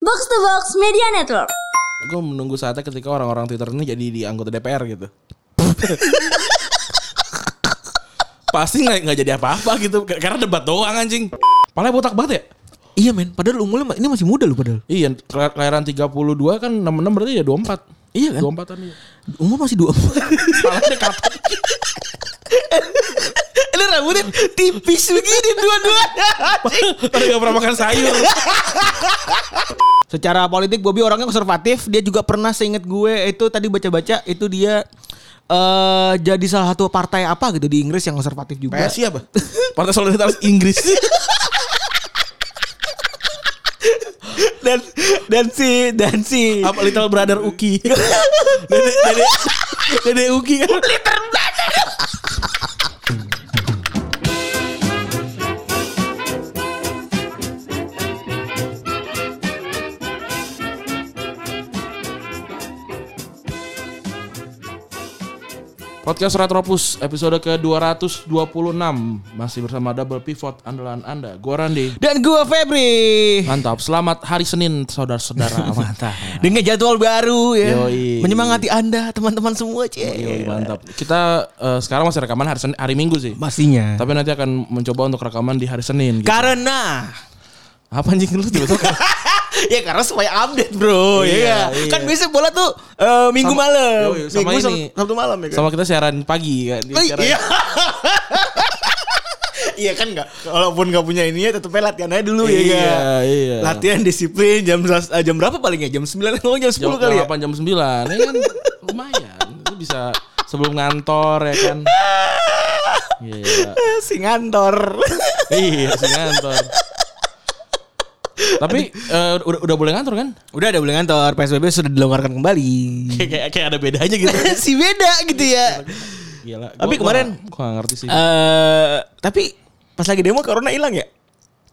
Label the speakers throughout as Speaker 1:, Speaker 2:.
Speaker 1: Box to Box Media Network.
Speaker 2: Gue menunggu saatnya ketika orang-orang Twitter ini jadi di anggota DPR gitu. Pasti nggak nggak jadi apa-apa gitu karena debat doang anjing. Palanya botak banget ya?
Speaker 3: Iya men, padahal umurnya ma- ini masih muda loh padahal.
Speaker 2: Iya, kela- kelahiran 32 kan 66 berarti ya 24.
Speaker 3: Iya kan?
Speaker 2: 24 an iya.
Speaker 3: Umur masih dua.
Speaker 2: Palanya kapan?
Speaker 3: Ini rambutnya tipis begini dua-duanya.
Speaker 2: Tadi gak pernah makan sayur.
Speaker 3: Secara politik Bobby orangnya konservatif, dia juga pernah seinget gue itu tadi baca-baca itu dia eh jadi salah satu partai apa gitu di Inggris yang konservatif juga.
Speaker 2: PSI apa? Partai Solidaritas Inggris.
Speaker 3: Dan dan si dan si
Speaker 2: apa Little Brother Uki? Dede, dede, dede Uki kan? Podcast Retropus episode ke-226 Masih bersama Double Pivot andalan Anda Gue Randy
Speaker 3: dan gue Febri.
Speaker 2: Mantap, selamat hari Senin saudara-saudara Mantap
Speaker 3: Dengan jadwal baru ya.
Speaker 2: Yoi.
Speaker 3: Menyemangati Anda teman-teman semua,
Speaker 2: Yoi,
Speaker 3: Cek.
Speaker 2: mantap. Kita eh, sekarang masih rekaman hari, Senin, hari Minggu sih.
Speaker 3: Pastinya.
Speaker 2: Tapi nanti akan mencoba untuk rekaman di hari Senin. gitu.
Speaker 3: Karena
Speaker 2: Apa anjing lu tiba-tiba?
Speaker 3: ya karena supaya update bro
Speaker 2: Iya,
Speaker 3: ya
Speaker 2: iya.
Speaker 3: kan biasa bola tuh eh, minggu
Speaker 2: Sama-
Speaker 3: malam
Speaker 2: Yoi, sama
Speaker 3: minggu Sab-
Speaker 2: ini.
Speaker 3: sabtu malam ya kan
Speaker 2: Sama kita siaran pagi kan.
Speaker 3: Oh,
Speaker 2: Siaran-
Speaker 3: iya iya kan nggak walaupun nggak punya ininya tetepnya latihan aja dulu ya
Speaker 2: Iya,
Speaker 3: kan?
Speaker 2: iya.
Speaker 3: latihan disiplin jam selas- eh, jam berapa paling ya jam 9 atau jam 10
Speaker 2: Jam,
Speaker 3: kali ya
Speaker 2: 8 jam 9. Ini kan lumayan. Lu bisa sebelum ngantor ya kan. Iya.
Speaker 3: Eh, si ngantor
Speaker 2: Iya, sih ngantor. Tapi eh, udah, udah boleh ngantor kan?
Speaker 3: udah ada boleh ngantor psbb sudah dilonggarkan kembali
Speaker 2: Kayak kayak- kayak ada bedanya gitu.
Speaker 3: si beda gitu ya
Speaker 2: Gila. Gua-
Speaker 3: Tapi
Speaker 2: gua
Speaker 3: kemarin-
Speaker 2: nggak- gua nggak ngerti sih.
Speaker 3: Eh, tapi pas lagi demo corona hilang ya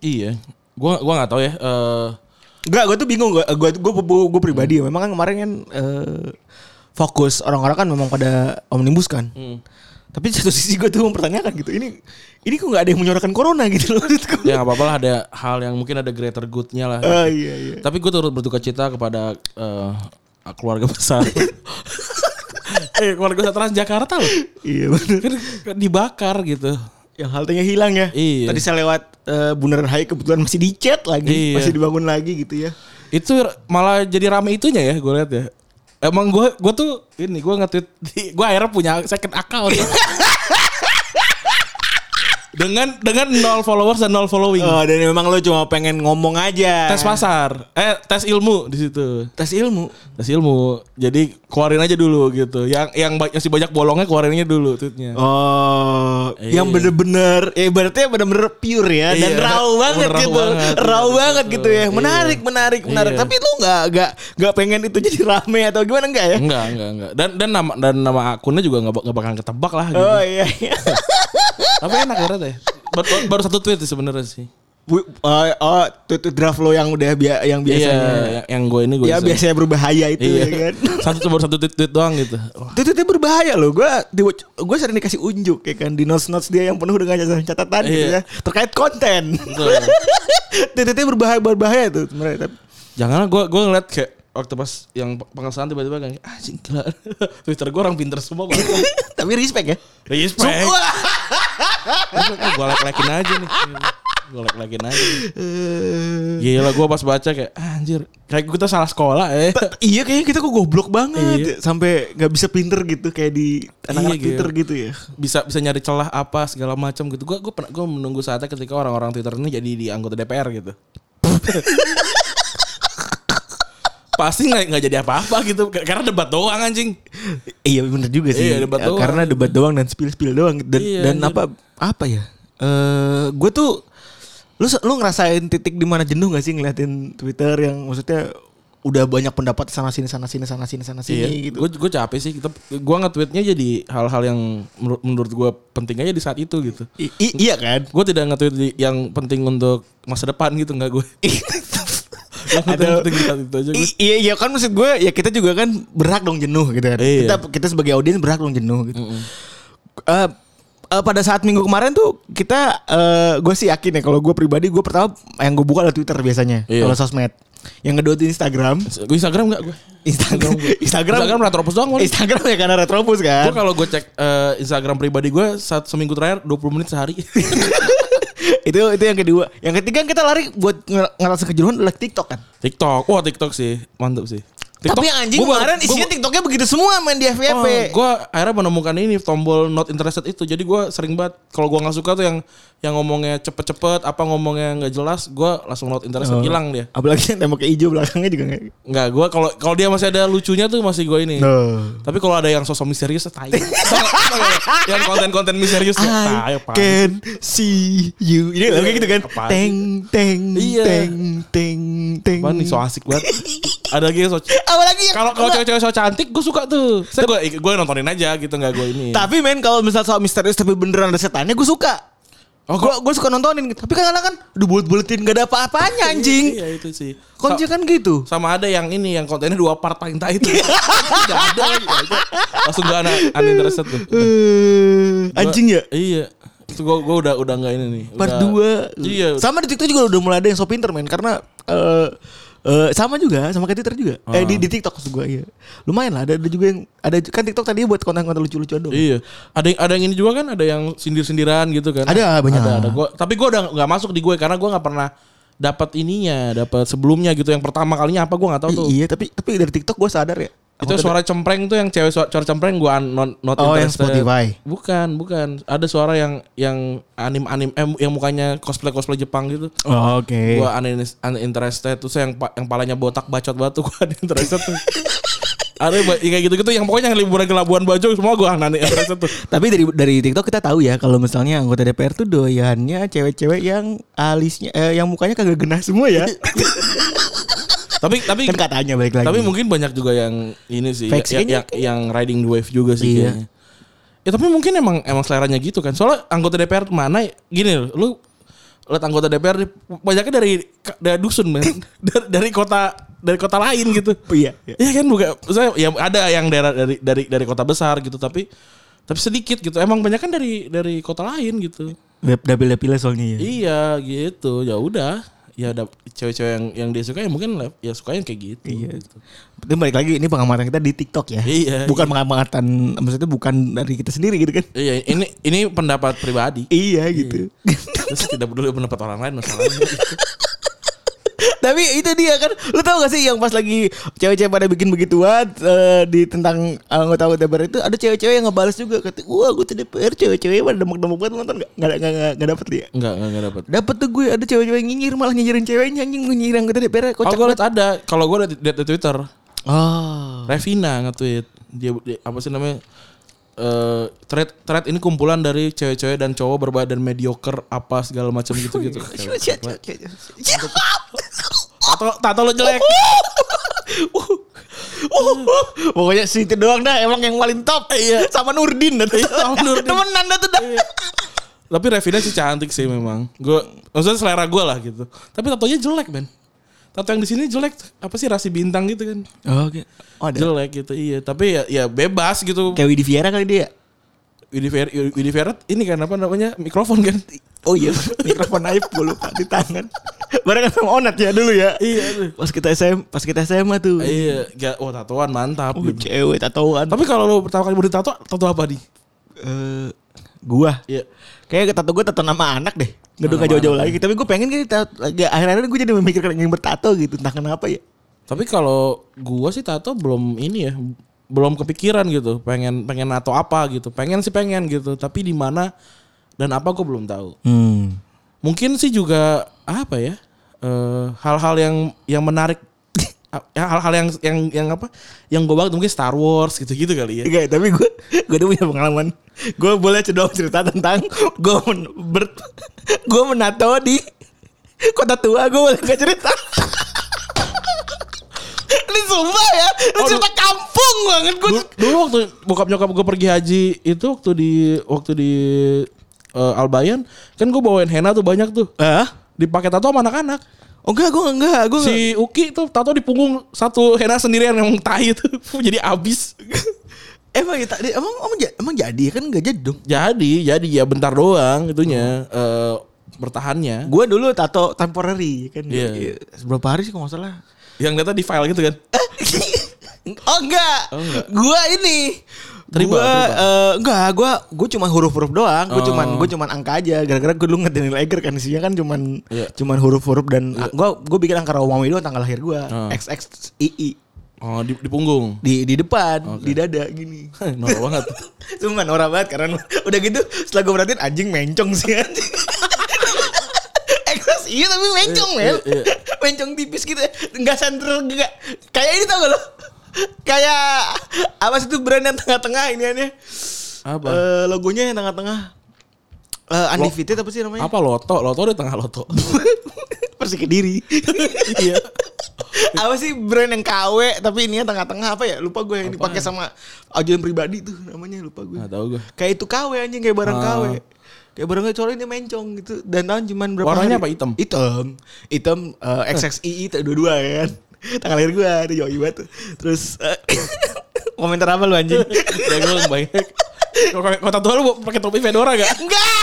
Speaker 2: Iya. Gua gua nggak tahu ya. Eh,
Speaker 3: Enggak, gue tuh bingung. Gue gue gue, gue pribadi. Memang kan kemarin kan eh, fokus orang-orang kan memang pada omnibus kan. Tapi di satu sisi gue tuh mempertanyakan gitu. Ini ini kok nggak ada yang menyorakan corona gitu loh. Maksud gue.
Speaker 2: ya nggak apa-apa lah ada hal yang mungkin ada greater good-nya lah.
Speaker 3: Ah, iya iya.
Speaker 2: Tapi gue turut berduka cita kepada eh, keluarga besar. eh, keluarga besar Transjakarta loh.
Speaker 3: Iya benar.
Speaker 2: Kan dibakar gitu.
Speaker 3: Yang haltenya hilang ya.
Speaker 2: Iya.
Speaker 3: Tadi saya lewat eh, Bundaran HI kebetulan masih dicet lagi,
Speaker 2: Iya.
Speaker 3: masih dibangun lagi gitu ya.
Speaker 2: Itu malah jadi rame itunya ya gue lihat ya. Emang gue gue tuh ini gue nge-tweet di- gue akhirnya punya second account. dengan dengan nol followers dan nol following.
Speaker 3: Oh, iya. dan memang lo cuma pengen ngomong aja.
Speaker 2: Tes pasar. Eh tes ilmu di situ.
Speaker 3: Tes ilmu.
Speaker 2: Tes ilmu. Jadi keluarin aja dulu gitu. Yang yang ba- masih banyak bolongnya keluarinnya dulu tweetnya.
Speaker 3: Oh, yang bener-bener, ya ibaratnya bener-bener pure ya dan
Speaker 2: Iya,
Speaker 3: raw banget
Speaker 2: raw
Speaker 3: gitu,
Speaker 2: banget,
Speaker 3: raw
Speaker 2: iya,
Speaker 3: banget
Speaker 2: betul.
Speaker 3: gitu ya.
Speaker 2: Iya.
Speaker 3: Menarik, menarik, menarik.
Speaker 2: Iya.
Speaker 3: Tapi lu nggak nggak nggak pengen itu jadi rame atau gimana enggak ya?
Speaker 2: Enggak, enggak, enggak. Dan dan nama dan nama akunnya juga enggak enggak bakalan ketebak lah gitu.
Speaker 3: Oh iya. iya.
Speaker 2: Tapi enak ternyata ya. Baru, baru satu tweet sih sebenarnya sih.
Speaker 3: Bu- oh, oh, tweet tweet draft lo yang udah bia- yang biasanya.
Speaker 2: Iya, yang, yang gue ini gue.
Speaker 3: Ya
Speaker 2: iseng.
Speaker 3: biasanya berbahaya itu
Speaker 2: Iya.
Speaker 3: ya kan.
Speaker 2: satu baru satu tweet, tweet doang gitu. Wah,
Speaker 3: Tweet-tweetnya berbahaya loh. Gua di, gua sering dikasih unjuk ya kan di notes notes dia yang penuh dengan catatan catatan gitu
Speaker 2: Iya.
Speaker 3: ya terkait konten.
Speaker 2: betul.
Speaker 3: Tweet-tweetnya berbahaya berbahaya tuh sebenarnya. Tapi-
Speaker 2: Janganlah gue gue ngeliat kayak waktu pas yang pengesahan tiba-tiba kayak "Ah, anjing gila. Twitter gue orang pinter semua banget.
Speaker 3: Tapi respect ya.
Speaker 2: Respect. gue lek-lekin aja nih. Gue lek-lekin aja. nih. Gila gue Iya, pas baca kayak "Ah, anjir. Kayak kita salah sekolah eh.
Speaker 3: T- iya kayaknya kita kok goblok banget sampai nggak bisa pinter gitu kayak di anak-anak
Speaker 2: Iya,
Speaker 3: Twitter
Speaker 2: Gil.
Speaker 3: Iya. gitu ya.
Speaker 2: bisa bisa nyari celah apa segala macam gitu. Gua gua pernah gua menunggu saatnya ketika orang-orang Twitter ini jadi di anggota DPR gitu. Pasti nggak nggak jadi apa-apa gitu K- karena debat doang anjing.
Speaker 3: Iya bener juga sih.
Speaker 2: Iya, debat
Speaker 3: Ya,
Speaker 2: doang.
Speaker 3: Karena debat doang dan spill-spill doang dan,
Speaker 2: Iya,
Speaker 3: dan
Speaker 2: anjir.
Speaker 3: apa apa ya? Eh gue tuh lu se- lu ngerasain titik di mana jenuh gak sih ngeliatin Twitter yang maksudnya udah banyak pendapat sana sini sana sini sana sini sana sini gitu.
Speaker 2: Gue gue capek sih. Kita, gua nge-tweetnya jadi hal-hal yang menurut menurut gua penting aja di saat itu gitu.
Speaker 3: I- i- iya kan?
Speaker 2: Gue tidak nge-tweet di- yang penting untuk masa depan gitu nggak gue. yang penting,
Speaker 3: Ada-
Speaker 2: penting di saat itu aja gue.
Speaker 3: I- iya iya kan maksud gue ya kita juga kan berhak dong jenuh gitu kan.
Speaker 2: Iya.
Speaker 3: Kita kita sebagai audiens berhak dong jenuh gitu. Eh, eh, pada saat minggu kemarin tuh kita eh gue sih yakin ya kalau gue pribadi gue pertama yang gue buka adalah Twitter biasanya
Speaker 2: Iya.
Speaker 3: kalau sosmed yang kedua tuh Instagram
Speaker 2: Gue Instagram gak gue?
Speaker 3: Instagram Instagram
Speaker 2: Instagram Retropus doang kan?
Speaker 3: Instagram ya karena retrobus
Speaker 2: Gue
Speaker 3: kan
Speaker 2: kalau gue cek eh, Instagram pribadi gue saat seminggu terakhir 20 menit sehari.
Speaker 3: itu itu yang kedua yang ketiga kita lari buat nger- ngerasa kejenuhan adalah TikTok kan
Speaker 2: TikTok. Wah TikTok sih. Mantap sih. TikTok,
Speaker 3: tapi anjing
Speaker 2: gua baru-
Speaker 3: kemarin
Speaker 2: gua- Oh,
Speaker 3: isinya E. TikToknya begitu semua main di FYP
Speaker 2: gue akhirnya menemukan ini tombol not interested itu. Jadi gue sering banget kalau gue nggak suka tuh yang yang ngomongnya cepet-cepet, apa ngomongnya nggak jelas, gue langsung not interested hilang dia.
Speaker 3: Oh. apalagi yang temboknya hijau belakangnya juga nggak
Speaker 2: Nggak, gue kalau kalau dia masih ada lucunya tuh masih gue ini.
Speaker 3: No.
Speaker 2: Tapi kalau ada yang sosok misterius, ya tai. Tau nggak- tau nggak lu? yang konten-konten misterius, ya, tai.
Speaker 3: I
Speaker 2: apaan sih?
Speaker 3: can see you. Ini lagunya gitu kan.
Speaker 2: Apaan sih?
Speaker 3: Teng teng
Speaker 2: Iya.
Speaker 3: teng teng teng. ya?
Speaker 2: Apaan nih so asik banget. ada lagi yang so
Speaker 3: Apalagi yang-
Speaker 2: kalau kalau cewek-cewek so cantik gue suka tuh. Saya gue gue nontonin aja gitu nggak gue ini.
Speaker 3: tapi men kalau misal soal misterius tapi beneran ada setannya gue suka.
Speaker 2: Oh,
Speaker 3: gue gue suka nontonin tapi kan kadang kan udah bulet-buletin gak ada apa-apanya anjing.
Speaker 2: Iya itu sih.
Speaker 3: Kunci kan gitu.
Speaker 2: sama ada yang ini yang kontennya dua part paling tai itu. Enggak ada lagi. Nah, itu Langsung gak anak uninterested tuh.
Speaker 3: Eh, anjing ya.
Speaker 2: Iya. Itu gua gua udah udah enggak ini nih.
Speaker 3: Part
Speaker 2: Udah-
Speaker 3: 2
Speaker 2: Iya.
Speaker 3: Sama di TikTok juga udah mulai ada yang so pinter men Karena eh eh, sama juga, sama kayak Twitter juga.
Speaker 2: Ah.
Speaker 3: Eh di, di TikTok maksud gue iya. Lumayan lah, ada, ada juga yang ada kan TikTok tadi buat konten-konten lucu-lucuan doang.
Speaker 2: Iya. Ada yang ada yang ini juga kan ada yang sindir-sindiran gitu kan.
Speaker 3: Ada, banyak.
Speaker 2: Ada, ada. Gua, tapi gua udah nggak masuk di gue karena gua nggak pernah dapat ininya, dapat sebelumnya gitu yang pertama kalinya apa gua nggak tahu
Speaker 3: I-
Speaker 2: tuh.
Speaker 3: Iya, tapi tapi dari TikTok gue sadar ya.
Speaker 2: Itu suara cempreng tuh yang cewek suara, suara cempreng gua non not
Speaker 3: Oh, yang
Speaker 2: interested.
Speaker 3: Spotify.
Speaker 2: Bukan, bukan. Ada suara yang yang anim-anim eh, yang mukanya cosplay-cosplay Jepang gitu.
Speaker 3: Oh, Oke.
Speaker 2: Gua unin- uninterested terus yang pa- yang palanya botak bacot batu gue uninterested tuh. Ada ba- yang kayak gitu-gitu yang pokoknya yang liburan ke Labuan Bajo semua gue uninterested tuh.
Speaker 3: Tapi dari dari TikTok kita tahu ya kalau misalnya anggota DPR tuh doyannya cewek-cewek yang alisnya eh, yang mukanya kagak genah semua ya.
Speaker 2: Tapi tapi
Speaker 3: kan katanya balik lagi.
Speaker 2: tapi mungkin banyak juga yang ini sih
Speaker 3: Fake
Speaker 2: yang,
Speaker 3: skinnya
Speaker 2: yang, yang riding the wave juga sih
Speaker 3: Iya.
Speaker 2: kayaknya. Ya tapi mungkin emang emang seleranya gitu kan. Soalnya anggota DPR mana gini loh, lu lihat anggota DPR nih, banyaknya dari dari dusun
Speaker 3: Eh.
Speaker 2: men. dari, dari kota dari kota lain gitu.
Speaker 3: iya. iya.
Speaker 2: Iya kan bukan saya ya ada yang daerah dari dari dari kota besar gitu tapi tapi sedikit gitu. Emang banyak kan dari dari kota lain gitu.
Speaker 3: Dapil-dapilnya soalnya ya.
Speaker 2: Iya gitu. Ya udah. Ya ada cewek-cewek yang yang dia suka ya mungkin lah, ya sukanya kayak gitu.
Speaker 3: Iya. Itu balik lagi ini pengamatan kita di TikTok ya.
Speaker 2: Iya,
Speaker 3: Bukan pengamatan maksudnya bukan dari kita sendiri gitu kan.
Speaker 2: Iya, ini ini pendapat pribadi.
Speaker 3: Iya gitu.
Speaker 2: Terus tidak peduli pendapat orang lain masalahnya.
Speaker 3: Tapi itu dia kan. Lu tau gak sih yang pas lagi cewek-cewek pada bikin begituan eh, di tentang anggota anggota DPR itu ada cewek-cewek yang ngebales juga kata, "Wah, gue DPR cewek-cewek pada demek-demek banget lu nonton gak? Gak, gak, gak, gak dapet dia."
Speaker 2: Enggak, enggak, enggak dapat.
Speaker 3: Dapet tuh gue ada cewek-cewek yang nyinyir malah nyinyirin ceweknya anjing gue nyinyirin anggota DPR
Speaker 2: Oh,
Speaker 3: kocak.
Speaker 2: gue
Speaker 3: banget.
Speaker 2: liat ada. Kalau gue liat, liat di Twitter,
Speaker 3: Oh.
Speaker 2: Revina nge-tweet dia, dia- apa sih namanya eh thread thread ini kumpulan dari cewek-cewek dan cowok berbadan mediocre apa segala macam gitu gitu tato tato lo jelek
Speaker 3: Pokoknya si itu doang dah emang yang paling top. Iya. Sama Nurdin Iya. dah.
Speaker 2: sama Nurdin.
Speaker 3: Temen Nanda tuh dah.
Speaker 2: tapi Revina sih cantik sih memang gue maksudnya selera gue lah gitu tapi tatonya jelek men tato yang di sini jelek apa sih rasi bintang gitu kan
Speaker 3: Oke. Oh, ada.
Speaker 2: jelek gitu iya tapi ya, ya bebas gitu
Speaker 3: Kayak Widi Viera kali dia. ya?
Speaker 2: Widi Fer- Widi Ferret ini kan apa namanya mikrofon kan
Speaker 3: Oh iya, mikrofon naik gue lupa di tangan. Barengan sama Onat ya dulu ya.
Speaker 2: Iya.
Speaker 3: Pas kita SM, pas kita SMA tuh.
Speaker 2: iya gak wah tatoan mantap
Speaker 3: Oh,
Speaker 2: gitu.
Speaker 3: cewek tatoan.
Speaker 2: tapi kalau lo pertama kali mau ditato tato apa nih
Speaker 3: Eh, gua.
Speaker 2: Iya.
Speaker 3: Kayaknya tato gue tato nama anak deh. Nggak dong, nggak jauh-jauh lagi. Tapi gue pengen kayak tato- ya, akhir-akhir gue jadi memikirkan ingin bertato gitu. Entah kenapa ya.
Speaker 2: Tapi kalau gua sih tato belum ini ya, belum kepikiran gitu. Pengen pengen nato apa gitu. Pengen sih pengen gitu, tapi di mana dan apa gua belum tahu.
Speaker 3: Hmm.
Speaker 2: Mungkin sih juga apa ya? eh, hal-hal yang yang menarik Ya, hal-hal yang yang yang apa? Yang gua banget mungkin Star Wars gitu-gitu kali ya.
Speaker 3: Enggak, tapi gue gue udah punya pengalaman. Gue boleh coba cerita tentang gue men, ber, gue menato di kota tua. Gue boleh gak cerita? Ini sumpah ya, ini
Speaker 2: Oh,
Speaker 3: cerita kampung banget gue.
Speaker 2: Dulu, dulu waktu bokap nyokap gue pergi haji itu waktu di waktu di eh, Albayan kan gue bawain henna tuh banyak tuh
Speaker 3: Hah?
Speaker 2: dipakai tato sama anak-anak.
Speaker 3: Oh enggak, gue enggak, gue enggak.
Speaker 2: si Uki tuh tato di punggung satu henna sendirian yang tai itu jadi abis
Speaker 3: Emang ya tak- emang emang, ja- emang jadi kan nggak jadi dong.
Speaker 2: Jadi, jadi ya bentar doang itunya eh, bertahannya.
Speaker 3: Gue dulu tato temporary kan.
Speaker 2: Iya.
Speaker 3: Berapa hari sih kalau nggak salah?
Speaker 2: Yang data di file gitu kan.
Speaker 3: oh enggak.
Speaker 2: Oh, enggak.
Speaker 3: Gua ini.
Speaker 2: Tribal,
Speaker 3: gua
Speaker 2: tribal.
Speaker 3: eh, enggak, gua gua cuma huruf-huruf doang, gua
Speaker 2: Oh.
Speaker 3: cuman gua cuman angka aja. Gara-gara gua dulu ngedenial Eger kan isinya kan cuman
Speaker 2: Iya.
Speaker 3: cuman huruf-huruf dan gua gua bikin angka Romawi doang tanggal lahir gua.
Speaker 2: Oh.
Speaker 3: XXII
Speaker 2: Oh, di, di punggung.
Speaker 3: di di depan, di dada gini.
Speaker 2: Norak banget.
Speaker 3: Cuma norak banget karena udah gitu setelah gue perhatiin anjing mencong sih anjing. Eksos iya tapi mencong
Speaker 2: Iya,
Speaker 3: men.
Speaker 2: iya, iya.
Speaker 3: Mencong tipis gitu. Enggak sandrel enggak. Kayak ini tau gak lo? Kayak apa sih itu brand yang tengah-tengah ini aneh.
Speaker 2: Apa?
Speaker 3: Eh, logonya yang tengah-tengah. Eh undefeated apa sih namanya?
Speaker 2: Apa loto? Loto di tengah loto.
Speaker 3: Persi Kediri.
Speaker 2: iya.
Speaker 3: apa sih brand yang KW tapi ininya tengah-tengah apa ya? Lupa gue yang dipakai sama ajudan pribadi tuh namanya lupa gue.
Speaker 2: Enggak tahu gue.
Speaker 3: Kayak itu KW anjing kayak barang
Speaker 2: Ah.
Speaker 3: KW. Kayak barang KW soalnya ini mencong gitu dan tahun cuman berapa
Speaker 2: Warnanya
Speaker 3: hari?
Speaker 2: apa, hitam?
Speaker 3: Hitam. Hitam eh, XXII itu dua-dua ya kan. Tanggal lahir gua ada yoi banget. tuh. Terus eh, komentar apa lu anjing?
Speaker 2: Ya gue banyak. Kalau kota tua lu mau pakai topi fedora gak?
Speaker 3: Enggak.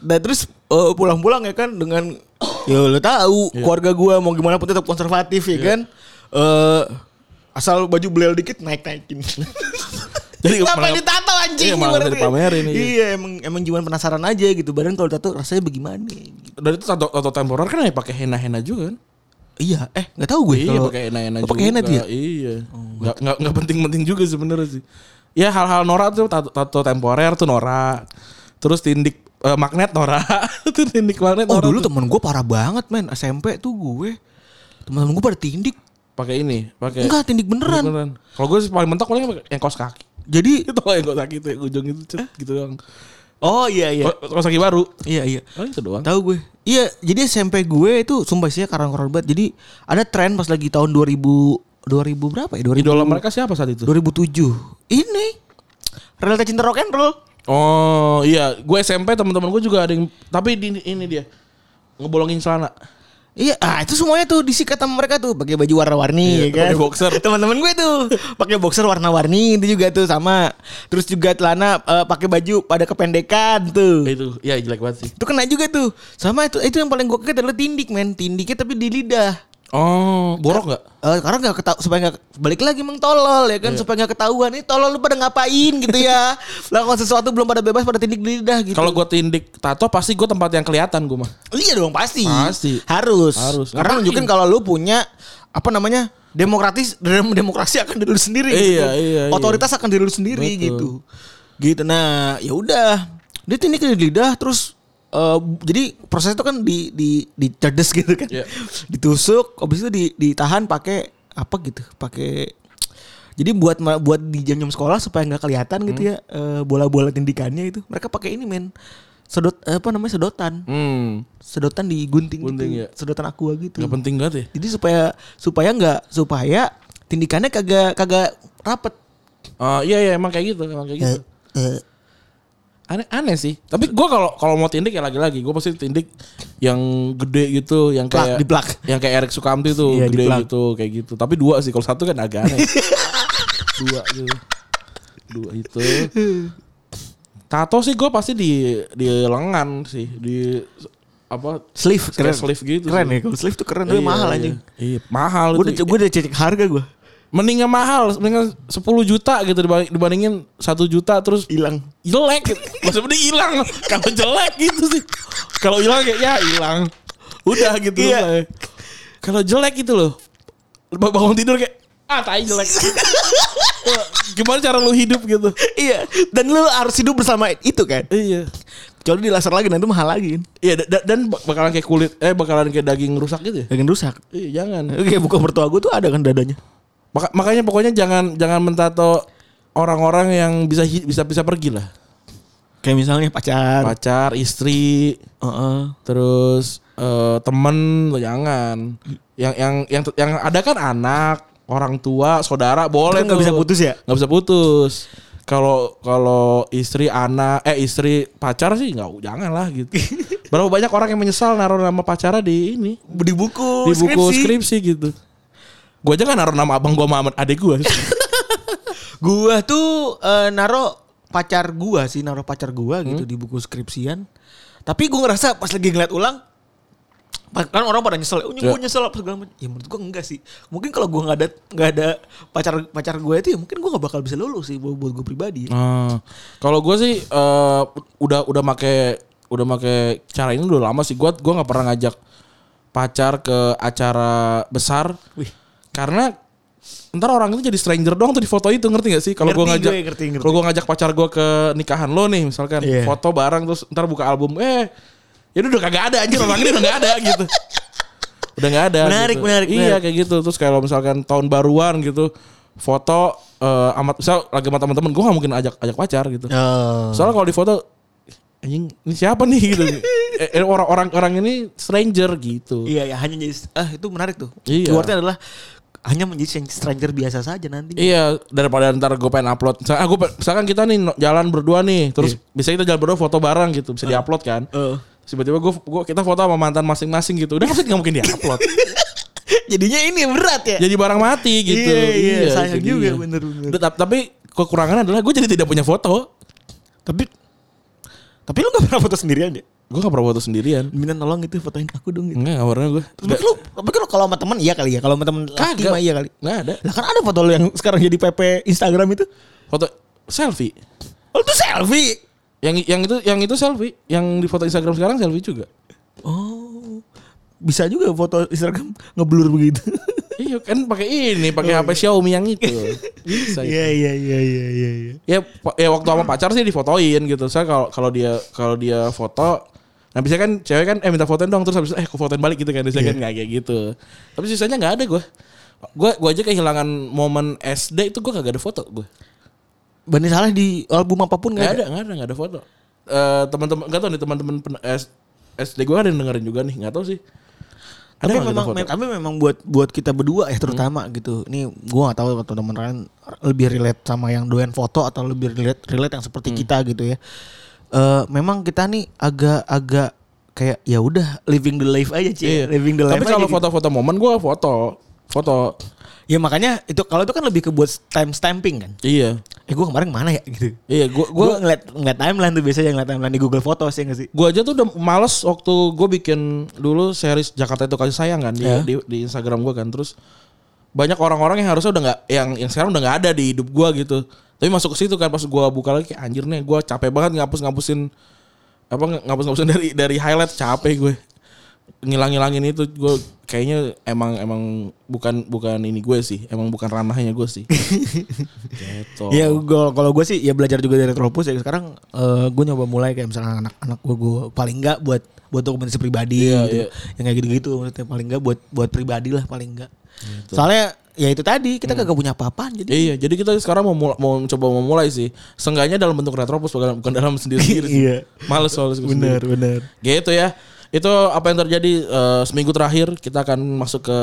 Speaker 3: Nah terus eh, pulang-pulang ya kan dengan ya lo
Speaker 2: Iya.
Speaker 3: tahu keluarga gua mau gimana pun tetap konservatif ya kan. Eh asal baju belel dikit naik-naikin.
Speaker 2: Jadi
Speaker 3: Jadi ngapain
Speaker 2: malah-
Speaker 3: ditato anjing?
Speaker 2: Iya, malah
Speaker 3: ibaratnya.
Speaker 2: dipamerin, iya.
Speaker 3: Iya emang emang cuman penasaran aja gitu. Badan kalau tato rasanya bagaimana? gitu.
Speaker 2: Dan itu tato, tato temporer kan ya pakai henna-henna juga kan?
Speaker 3: Iya, eh nggak tahu gue.
Speaker 2: Iya
Speaker 3: kalau-
Speaker 2: pakai henna-henna
Speaker 3: Oh, Pakai henna tuh ya?
Speaker 2: Iya. Nggak nggak nggak penting-penting juga sebenarnya sih. Ya hal-hal norak tuh tato, tato temporer tuh norak. Terus tindik eh, magnet norak. itu tindik magnet
Speaker 3: Oh
Speaker 2: norak.
Speaker 3: dulu
Speaker 2: tuh.
Speaker 3: temen gue parah banget men SMP tuh gue Temen-temen gue pada tindik
Speaker 2: pakai ini, pakai
Speaker 3: Enggak
Speaker 2: Iya.
Speaker 3: tindik
Speaker 2: tindik
Speaker 3: beneran
Speaker 2: beneran. Kalau gue sih paling mentok paling pakai yang kaos kaki.
Speaker 3: Jadi
Speaker 2: Itu loh yang kaos kaki itu yang ujung itu cet, gitu doang.
Speaker 3: Oh iya iya
Speaker 2: Ko- Kaos kaki baru.
Speaker 3: Iya iya
Speaker 2: Oh itu doang.
Speaker 3: Tahu gue Iya jadi SMP gue itu Sumpah sih ya, karang-karang banget Jadi ada tren pas lagi tahun 2000 2000 berapa ya? 2000,
Speaker 2: Idola mereka siapa saat itu?
Speaker 3: 2007 Ini Realita cinta rock and roll
Speaker 2: Oh iya, gue SMP teman-teman gue juga ada yang tapi di ini dia ngebolongin celana.
Speaker 3: Iya, ah itu semuanya tuh disikat sama mereka tuh pakai baju
Speaker 2: Iya,
Speaker 3: warna-warni ya kan.
Speaker 2: pakai boxer.
Speaker 3: Teman-teman gue tuh pakai boxer warna-warni itu juga tuh sama. Terus juga celana eh, pakai baju pada kependekan tuh.
Speaker 2: Itu ya jelek banget sih.
Speaker 3: Itu kena juga tuh. Sama itu itu yang paling gue kaget adalah tindik men, tindiknya tapi di lidah.
Speaker 2: Oh, borok nggak?
Speaker 3: Eh karena nggak ketau supaya nggak balik lagi emang tolol ya kan
Speaker 2: Iya.
Speaker 3: supaya nggak ketahuan ini tolol lu pada ngapain gitu ya lakukan sesuatu belum pada bebas pada tindik di lidah gitu
Speaker 2: Kalau gue tindik tato pasti gue tempat yang kelihatan gue mah.
Speaker 3: Iya dong pasti.
Speaker 2: Pasti.
Speaker 3: Harus.
Speaker 2: Harus.
Speaker 3: Karena
Speaker 2: Ngapain?
Speaker 3: nunjukin kalau lu punya apa namanya? demokratis dem- demokrasi akan diri lu sendiri
Speaker 2: Iya,
Speaker 3: gitu.
Speaker 2: iya, iya.
Speaker 3: Otoritas akan diri lu sendiri
Speaker 2: Betul.
Speaker 3: gitu. Gitu. Nah, ya udah. Dia tindik di lidah terus eh, jadi proses itu kan di di dicerdas gitu kan.
Speaker 2: Iya.
Speaker 3: Ditusuk, habis itu di- ditahan pakai apa gitu? Pakai jadi buat buat di jam-jam sekolah supaya nggak kelihatan gitu
Speaker 2: Hmm.
Speaker 3: ya eh, bola-bola tindikannya itu. Mereka pakai ini men. Sedot eh, apa namanya sedotan
Speaker 2: Hmm,
Speaker 3: sedotan digunting
Speaker 2: Gunting,
Speaker 3: gitu.
Speaker 2: ya.
Speaker 3: Sedotan aqua gitu.
Speaker 2: nggak penting banget ya.
Speaker 3: Jadi supaya supaya nggak supaya tindikannya kagak kagak rapet.
Speaker 2: Oh iya iya emang kayak gitu, emang kayak gitu.
Speaker 3: Eh,
Speaker 2: Aneh, aneh sih. Tapi gue kalau kalau mau tindik ya lagi-lagi gue pasti tindik yang gede gitu, yang
Speaker 3: Plak,
Speaker 2: kayak
Speaker 3: diplak.
Speaker 2: yang kayak Erik Sukamti tuh
Speaker 3: Iya,
Speaker 2: gede
Speaker 3: diplak.
Speaker 2: gitu, kayak gitu. Tapi dua sih, kalau satu kan agak aneh. dua gitu. Dua itu. Tato sih gue pasti di di lengan sih, di apa
Speaker 3: Sleeve
Speaker 2: Kayak sleeve gitu
Speaker 3: Keren
Speaker 2: sih.
Speaker 3: ya kalau sleeve tuh keren tapi
Speaker 2: Iya,
Speaker 3: mahal
Speaker 2: iya.
Speaker 3: anjing.
Speaker 2: Iya, mahal
Speaker 3: Gue udah gue udah cek harga gue
Speaker 2: Mendingan mahal, mendingan 10 juta gitu dibanding- dibandingin 1 juta terus
Speaker 3: hilang.
Speaker 2: jelek. gitu. Maksudnya mending hilang. Kalau jelek gitu sih. Kalau hilang kayak ya hilang. Udah gitu
Speaker 3: Iya.
Speaker 2: loh. Kalau jelek gitu loh. Ba- Bangun tidur kayak ah tai jelek. Wah, Gimana cara lu hidup gitu?
Speaker 3: iya. Dan lu harus hidup bersama itu kan.
Speaker 2: Iya.
Speaker 3: Kecuali di laser lagi nanti mahal lagi kan.
Speaker 2: Iya da- da- dan bak- bakalan kayak kulit eh bakalan kayak daging rusak gitu ya.
Speaker 3: Lagi rusak.
Speaker 2: Iya, jangan.
Speaker 3: Oke, buka mertua gue tuh ada kan dadanya.
Speaker 2: Maka- makanya pokoknya jangan jangan mentato orang-orang yang bisa hi- bisa bisa pergi lah.
Speaker 3: Kayak misalnya pacar.
Speaker 2: Pacar, istri,
Speaker 3: Heeh.
Speaker 2: terus eh, temen lo jangan yang yang yang yang ada kan anak orang tua saudara boleh
Speaker 3: Kan nggak
Speaker 2: tuh.
Speaker 3: bisa putus ya?
Speaker 2: nggak bisa putus kalau kalau istri anak eh istri pacar sih nggak jangan lah gitu. Berapa banyak orang yang menyesal naruh nama pacarnya di ini
Speaker 3: Di buku,
Speaker 2: di buku skripsi, gitu. Gue aja kan naruh nama abang gue sama adik gue.
Speaker 3: Gua tuh eh, naro pacar gua sih, naro pacar gua gitu
Speaker 2: Hmm.
Speaker 3: di buku skripsian. Tapi gua ngerasa pas lagi ngeliat ulang pa- kan orang pada nyesel, oh,
Speaker 2: Ya.
Speaker 3: gua nyesel apa segala macam. Ya menurut gua enggak sih. Mungkin kalau gua nggak ada nggak ada pacar pacar gua itu ya mungkin gua nggak bakal bisa lulus sih buat, buat gua pribadi.
Speaker 2: Ah, kalau gue sih eh, udah udah make udah make cara ini udah lama sih. Gue gua nggak pernah ngajak pacar ke acara besar.
Speaker 3: Wih.
Speaker 2: Karena ntar orang itu jadi stranger doang tuh di foto itu ngerti gak sih? Kalau gue
Speaker 3: Ngerti
Speaker 2: ngajak
Speaker 3: gue, ngerti, ngerti.
Speaker 2: kalau gue ngajak pacar gue ke nikahan lo nih misalkan
Speaker 3: Iya.
Speaker 2: foto bareng terus ntar buka album eh ya udah kagak ada anjir orang ini udah gak ada gitu. Udah gak ada.
Speaker 3: Menarik,
Speaker 2: gitu.
Speaker 3: menarik,
Speaker 2: Iya
Speaker 3: menarik.
Speaker 2: kayak gitu. Terus kalau misalkan tahun baruan gitu foto eh, amat misal lagi sama teman-teman gue gak mungkin ajak ajak pacar gitu.
Speaker 3: Oh.
Speaker 2: Soalnya kalau di foto anjing ini siapa nih gitu. Eh, eh, Orang-orang orang ini stranger gitu.
Speaker 3: Iya ya hanya jadi ah itu menarik tuh.
Speaker 2: Iya.
Speaker 3: Keywordnya adalah hanya menjadi stranger biasa saja nanti.
Speaker 2: Iya, daripada ntar gue pengen upload. Misalkan, ah, gua pe- misalkan kita nih no- jalan berdua nih, terus
Speaker 3: Iya.
Speaker 2: bisa kita jalan berdua foto bareng gitu, bisa diupload kan?
Speaker 3: Eh.
Speaker 2: Terus Tiba-tiba gue gua, kita foto sama mantan masing-masing gitu. Udah pasti nggak mungkin diupload.
Speaker 3: Jadinya ini berat ya.
Speaker 2: jadi barang mati gitu.
Speaker 3: Iya, iya, sayang
Speaker 2: itu
Speaker 3: juga,
Speaker 2: dia.
Speaker 3: bener-bener.
Speaker 2: Tetap- Tapi kekurangannya adalah gue jadi tidak punya foto.
Speaker 3: Tapi tapi lu gak pernah foto sendirian ya?
Speaker 2: Gue gak pernah foto sendirian.
Speaker 3: Minta tolong itu fotoin aku dong gitu.
Speaker 2: Enggak, gak pernah gue.
Speaker 3: Tapi lu, tapi kan lu kalau sama teman iya kali ya, kalau sama teman laki
Speaker 2: Kagak.
Speaker 3: mah iya kali.
Speaker 2: Nggak ada.
Speaker 3: Lah kan ada foto lu yang sekarang jadi PP Instagram itu.
Speaker 2: Foto selfie.
Speaker 3: Lu tuh selfie.
Speaker 2: Yang yang itu yang itu selfie, yang di foto Instagram sekarang selfie juga.
Speaker 3: Oh. Bisa juga foto Instagram ngeblur begitu.
Speaker 2: iya kan pakai ini, pakai HP Xiaomi yang itu. Bisa. itu.
Speaker 3: Oh, Iya iya iya iya iya iya.
Speaker 2: Ya, pa- ya waktu sama pacar sih difotoin gitu. Saya kalau kalau dia kalau dia foto Nah biasanya kan cewek kan eh minta fotoin dong terus habis itu, eh aku fotoin balik gitu kan biasanya kan
Speaker 3: Iya.
Speaker 2: nggak kayak gitu. Tapi sisanya nggak ada gue. Gue gue aja kehilangan momen SD itu gue kagak ada foto gue.
Speaker 3: Bani salah di album apapun
Speaker 2: Nggak
Speaker 3: gak ada.
Speaker 2: ada nggak ada nggak ada foto. Eh teman-teman nggak tahu nih teman-teman pen- S- SD gue ada yang dengerin juga nih nggak tahu sih.
Speaker 3: Tapi
Speaker 2: nggak kita
Speaker 3: memang
Speaker 2: foto? Hmm.
Speaker 3: tapi memang buat buat kita berdua ya terutama gitu. Ini gua gak tahu kalau teman kalian lebih relate sama yang doyan foto atau lebih relate relate yang
Speaker 2: Hmm.
Speaker 3: seperti kita gitu ya. Eh memang kita nih agak-agak kayak ya udah living the life aja sih.
Speaker 2: Iya.
Speaker 3: Living the life.
Speaker 2: Tapi
Speaker 3: aja
Speaker 2: kalau
Speaker 3: gitu.
Speaker 2: foto-foto momen gue foto, foto.
Speaker 3: Ya makanya itu kalau itu kan lebih ke buat time stamping kan.
Speaker 2: Iya.
Speaker 3: Eh gue kemarin kemana ya gitu.
Speaker 2: Iya, gua
Speaker 3: Gue
Speaker 2: gua
Speaker 3: ngeliat ngeliat timeline tuh biasanya ngeliat timeline di Google Photos ya gak sih?
Speaker 2: gua aja tuh udah males waktu gue bikin dulu series Jakarta itu kasih sayang kan di,
Speaker 3: Iya.
Speaker 2: di, di Instagram gue kan terus banyak orang-orang yang harusnya udah nggak yang yang sekarang udah nggak ada di hidup gue gitu tapi masuk ke situ kan pas gue buka lagi kayak, anjir nih gue capek banget ngapus ngapusin apa ng- ngapus-ngapusin dari dari highlight capek gue ngilang-ngilangin itu gue kayaknya emang emang bukan bukan ini gue sih emang bukan ranahnya gue sih gitu
Speaker 3: Ya gua- kalau gue sih ya belajar juga dari Tropus ya sekarang gue nyoba mulai kayak misalnya anak-anak gue paling enggak buat buat dokumentasi pribadi
Speaker 2: Iya,
Speaker 3: gitu.
Speaker 2: iya.
Speaker 3: Yang kayak gitu-gitu maksudnya paling enggak buat buat pribadi lah paling enggak. Soalnya ya itu tadi kita kagak punya apa-apaan jadi
Speaker 2: Gitu. Hmm. Iya, jadi kita sekarang mau mula- mau coba memulai sih. Seenggaknya dalam bentuk retropus bukan bukan dalam sendiri-sendiri sih.
Speaker 3: Iya.
Speaker 2: Males soalnya
Speaker 3: bener bener.
Speaker 2: Gitu ya. Itu apa yang terjadi eh, seminggu terakhir kita akan masuk ke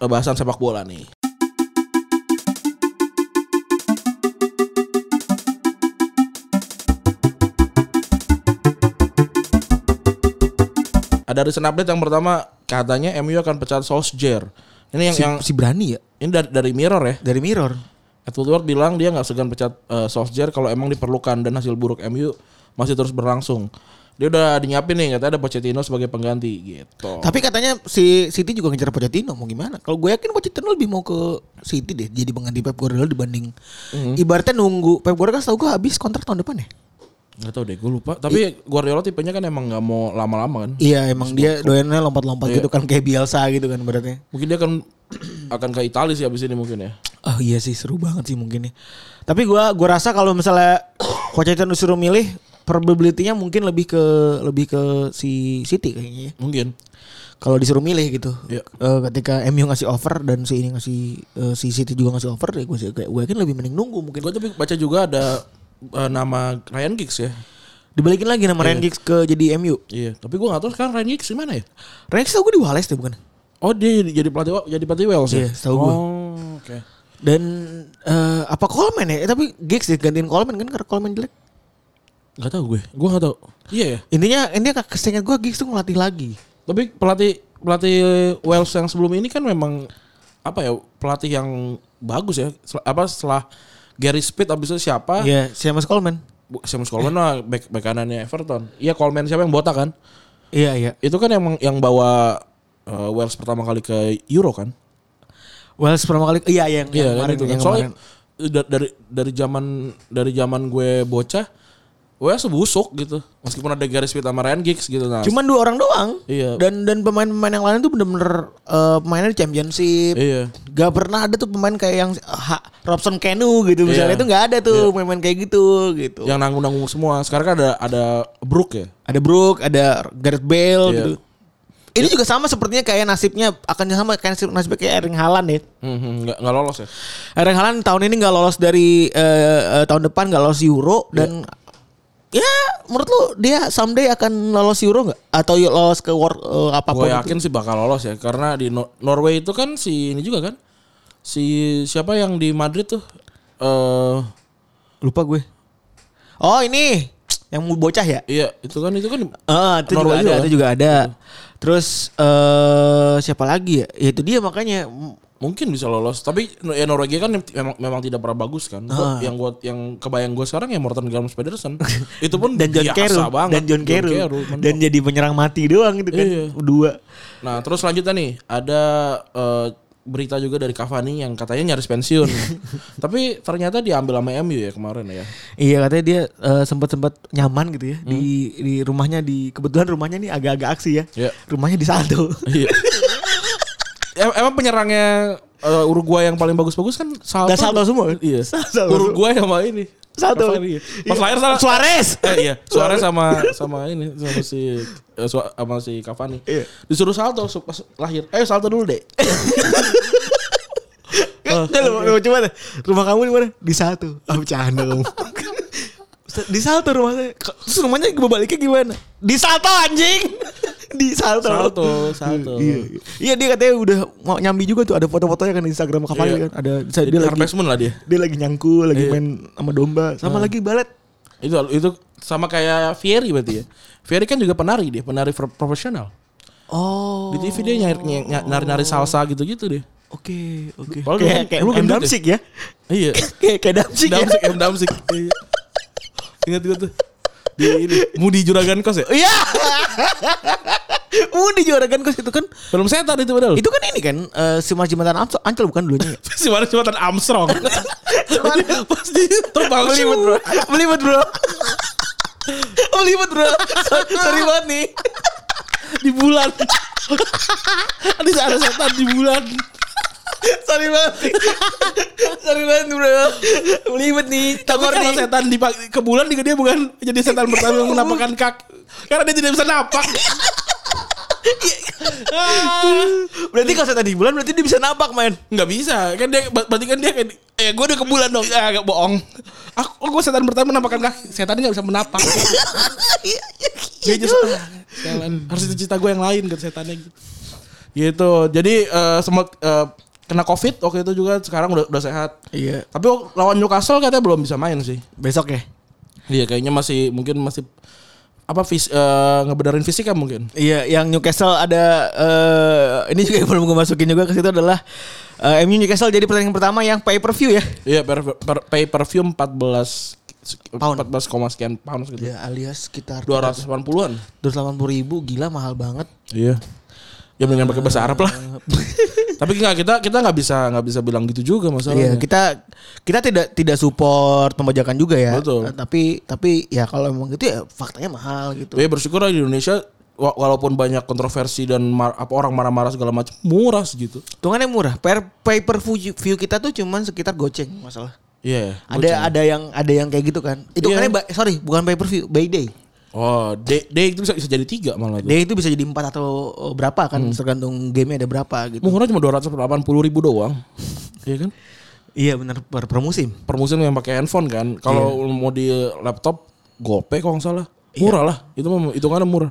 Speaker 2: eh, bahasan sepak bola nih. Ada recent update yang pertama katanya MU akan pecat Solskjaer. Ini yang
Speaker 3: Si,
Speaker 2: yang
Speaker 3: si berani ya
Speaker 2: ini dari, dari Mirror ya.
Speaker 3: dari Mirror.
Speaker 2: Ed Woodward bilang dia nggak segan pecat eh, Solskjaer kalau emang diperlukan dan hasil buruk MU masih terus berlangsung. Dia udah dinyapin nih katanya ada Pochettino sebagai pengganti gitu.
Speaker 3: Tapi katanya si City juga ngejar Pochettino mau gimana? Kalau gue yakin Pochettino lebih mau ke City deh jadi pengganti Pep Guardiola dibanding
Speaker 2: Hmm.
Speaker 3: ibaratnya nunggu Pep Guardiola kan setahu gue habis kontrak tahun depan ya.
Speaker 2: Nggak tahu deh, gue lupa. Tapi Guardiola tipenya kan emang nggak mau lama-lama kan.
Speaker 3: Iya emang dia doyannya lompat-lompat gitu kan kayak Bielsa gitu kan beratnya.
Speaker 2: Mungkin dia akan akan ke Italia sih abis ini mungkin ya.
Speaker 3: Oh iya sih seru banget sih mungkin nih. Tapi gua gua rasa kalau misalnya Pochettino disuruh milih probability-nya mungkin lebih ke lebih ke si City kayaknya ya.
Speaker 2: Mungkin.
Speaker 3: Kalau disuruh milih gitu.
Speaker 2: Iya.
Speaker 3: Eh, ketika MU ngasih offer dan si ini ngasih eh, si City juga ngasih offer ya gue gue yakin lebih mending nunggu mungkin.
Speaker 2: Gue tapi baca juga ada eh, nama Ryan Giggs ya.
Speaker 3: Dibalikin lagi nama Ryan Giggs ke jadi MU.
Speaker 2: Iya, tapi gue nggak tahu sekarang Ryan Giggs di mana ya.
Speaker 3: Ryan Giggs tau gue di Wales deh bukan?
Speaker 2: Oh dia jadi pelatih jadi pelatih Wales
Speaker 3: Iya,
Speaker 2: ya.
Speaker 3: setahu gua.
Speaker 2: Oh, oke.
Speaker 3: Dan eh, apa Coleman ya? Eh, Tapi Giggs digantiin Coleman kan karena Coleman jelek.
Speaker 2: Gak tau gue. Gue gak tau. Iya ya.
Speaker 3: Intinya intinya kesengit gue Giggs tuh ngelatih lagi.
Speaker 2: Tapi pelatih pelatih Wales yang sebelum ini kan memang apa ya pelatih yang bagus ya. Sel- apa setelah Gary Speed abis itu siapa?
Speaker 3: Iya, sama Coleman.
Speaker 2: Bu- Seamus Coleman lah back, back kanannya Everton. Iya Coleman siapa yang botak kan?
Speaker 3: Iya iya.
Speaker 2: Itu kan yang yang bawa eh, Wales pertama kali ke Euro kan?
Speaker 3: Wales pertama kali iya yang,
Speaker 2: Iya kan
Speaker 3: yang kemarin
Speaker 2: itu kan.
Speaker 3: yang
Speaker 2: Soalnya
Speaker 3: kemarin.
Speaker 2: da- dari dari zaman dari zaman gue bocah gue sebusuk gitu. Meskipun ada garis fit sama Ryan Giggs gitu nah.
Speaker 3: Cuman dua orang doang.
Speaker 2: Iya.
Speaker 3: Dan dan pemain-pemain yang lain tuh bener-bener eh, pemainnya di championship.
Speaker 2: iya.
Speaker 3: Gak pernah ada tuh pemain kayak yang eh, ha, Robson Canu gitu
Speaker 2: Iya.
Speaker 3: misalnya itu nggak ada tuh pemain kayak gitu gitu.
Speaker 2: Yang nanggung-nanggung semua. Sekarang kan ada ada Brook ya.
Speaker 3: Ada Brook, ada Gareth Bale
Speaker 2: Iya.
Speaker 3: gitu. Ini juga sama sepertinya kayak nasibnya akan sama kayak nasib, nasibnya kayak Erling Haaland ya.
Speaker 2: Mhm, nggak nggak lolos ya.
Speaker 3: Erling Haaland tahun ini nggak lolos dari eh, eh, tahun depan nggak lolos Euro dan ya menurut lu dia someday akan lolos Euro nggak atau y- lolos ke World eh, apapun?
Speaker 2: Gue
Speaker 3: itu?
Speaker 2: yakin sih bakal lolos ya karena di Nor- Norway itu kan si ini juga kan. Si siapa yang di Madrid tuh eh
Speaker 3: Lupa gue. Oh ini yang mau bocah ya?
Speaker 2: iya itu kan itu kan
Speaker 3: Ah, itu juga
Speaker 2: Norway
Speaker 3: ada,
Speaker 2: juga.
Speaker 3: itu juga ada. Terus eh siapa lagi ya? Ya itu dia makanya
Speaker 2: mungkin bisa lolos tapi ya Norwegia kan memang memang tidak pernah bagus kan
Speaker 3: Ah.
Speaker 2: Gua- yang gua yang kebayang gue sekarang ya Morten Gams Pedersen itu pun
Speaker 3: dan John
Speaker 2: biasa
Speaker 3: Carew
Speaker 2: banget
Speaker 3: dan Iya, John Carew
Speaker 2: mantap.
Speaker 3: dan jadi penyerang mati doang gitu kan
Speaker 2: Iya.
Speaker 3: dua
Speaker 2: nah terus lanjutnya nih ada eh, berita juga dari Cavani yang katanya nyaris pensiun tapi ternyata diambil sama MU ya kemarin ya
Speaker 3: iya katanya dia sempat sempat nyaman gitu ya di di rumahnya di kebetulan rumahnya nih agak-agak aksi ya
Speaker 2: Hmm. Iya.
Speaker 3: rumahnya di Saldo
Speaker 2: Iya. Em- Emang penyerangnya eh, Uruguay yang paling bagus-bagus kan Salto.
Speaker 3: Dan Salto semua kan?
Speaker 2: Iya.
Speaker 3: Salto.
Speaker 2: Uruguay sama ini.
Speaker 3: Saldo
Speaker 2: Cavani, iya. Pas lahir salah.
Speaker 3: Suarez
Speaker 2: Eh, iya, Suarez sama sama ini sama si eh, Sua- sama si Cavani.
Speaker 3: Iya.
Speaker 2: Disuruh salto su- pas lahir. Eh salto dulu deh.
Speaker 3: Kan, kan
Speaker 2: Oh.
Speaker 3: lu- lu coba deh. Rumah kamu di mana? Di Salto. Ah bercanda kamu. di Salto rumahnya. Terus rumahnya gue baliknya gimana? Di Salto anjing. Di Salto.
Speaker 2: Salto, Salto.
Speaker 3: Iya, iya. Iya, dia katanya udah mau nyambi juga tuh ada foto-fotonya kan di Instagram Cavani
Speaker 2: Iya.
Speaker 3: kan. Ada bisa
Speaker 2: Jadi
Speaker 3: dia lagi
Speaker 2: Harvest Moon lah dia.
Speaker 3: dia lagi nyangkul, lagi
Speaker 2: Iya.
Speaker 3: main sama domba, Nah. sama lagi balet.
Speaker 2: Itu itu sama kayak Fieri berarti ya. Fieri kan juga penari dia, penari pro- profesional.
Speaker 3: Oh.
Speaker 2: Di TV dia nyari- nyari- nari-nari salsa gitu-gitu deh.
Speaker 3: Oke, oke.
Speaker 2: Padahal
Speaker 3: Kayak
Speaker 2: lu-
Speaker 3: kayak
Speaker 2: lu
Speaker 3: M.
Speaker 2: gendut ya?
Speaker 3: Damsik ya.
Speaker 2: Iya.
Speaker 3: Kayak kayak Damsik ya.
Speaker 2: Damsik, M Damsik. Iya. Ingat gue tuh. Di ini, Mudi Juragan Kos ya?
Speaker 3: Iya. Udah juragan kos itu kan
Speaker 2: Film setan itu padahal.
Speaker 3: Itu kan ini kan eh, si Mas Jembatan Amso- Ancol bukan dulunya ya?
Speaker 2: si Waris Jembatan Armstrong. Pasti terbang sih.
Speaker 3: Melibet bro Melibet bro Melibet bro Sorry, sorry banget nih
Speaker 2: Di bulan. Ada ada setan di bulan.
Speaker 3: Sorry banget Sorry banget bro Melibet nih
Speaker 2: Tapi
Speaker 3: Tangor
Speaker 2: kalau
Speaker 3: nih
Speaker 2: setan di ke bulan juga dia bukan jadi setan pertama yang menampakkan kak. Karena dia tidak bisa napak. Iya. Ah.
Speaker 3: Berarti kalau setan di bulan Berarti dia bisa nabak men
Speaker 2: Enggak bisa. Kan dia ber- berarti kan dia kayak eh gue udah ke bulan dong. Ah, gak bohong. Aku oh, gue setan pertama menampakkan kaki. Setan nggak bisa menapak. Dia just ah, sialan. harus itu cita gue yang lain gitu setannya gitu. Gitu. Jadi eh sempat eh, kena covid waktu itu juga sekarang udah udah sehat.
Speaker 3: Iya
Speaker 2: Tapi wak- lawan Newcastle katanya belum bisa main sih.
Speaker 3: Besok ya
Speaker 2: Iya kayaknya masih mungkin masih apa fis, eh, ngebenerin fisika mungkin.
Speaker 3: Iya, yang Newcastle ada eh, ini juga yang belum gue masukin juga ke situ adalah eh, MU Newcastle jadi pertandingan pertama yang pay per view ya.
Speaker 2: Iya per, per- pay per view 14
Speaker 3: Pound.
Speaker 2: 14 koma sekian pounds gitu.
Speaker 3: Ya, alias sekitar
Speaker 2: 280-an.
Speaker 3: 280 ribu gila mahal banget.
Speaker 2: Iya. Ya mendingan pakai bahasa Arab lah. Tapi nggak kita kita nggak bisa nggak bisa bilang gitu juga
Speaker 3: Iya,
Speaker 2: masalahnya.
Speaker 3: kita kita tidak tidak support pembajakan juga ya.
Speaker 2: Betul.
Speaker 3: Eh, Tapi tapi ya kalau emang gitu ya faktanya mahal gitu.
Speaker 2: Ya bersyukur lah di Indonesia wa- walaupun banyak kontroversi dan mar- apa orang marah-marah segala macam murah segitu.
Speaker 3: Hitungannya murah. Per pay per view view kita tuh cuman sekitar goceng masalah.
Speaker 2: Iya.
Speaker 3: Ada ada yang ada yang kayak gitu kan. Itu
Speaker 2: Iya.
Speaker 3: sorry, bukan pay per view, by day.
Speaker 2: Oh, D, D itu bisa, bisa jadi tiga malah. Tuh.
Speaker 3: Day itu bisa jadi 4 atau eh, berapa kan
Speaker 2: Hmm.
Speaker 3: tergantung gamenya ada berapa gitu.
Speaker 2: Murah cuma 280 ribu doang. Iya kan?
Speaker 3: Iya benar per, per musim.
Speaker 2: Per musim yang pakai handphone kan. Kalau mau di laptop GoPay kalau nggak salah. Murah lah. Itu mah hitungannya murah.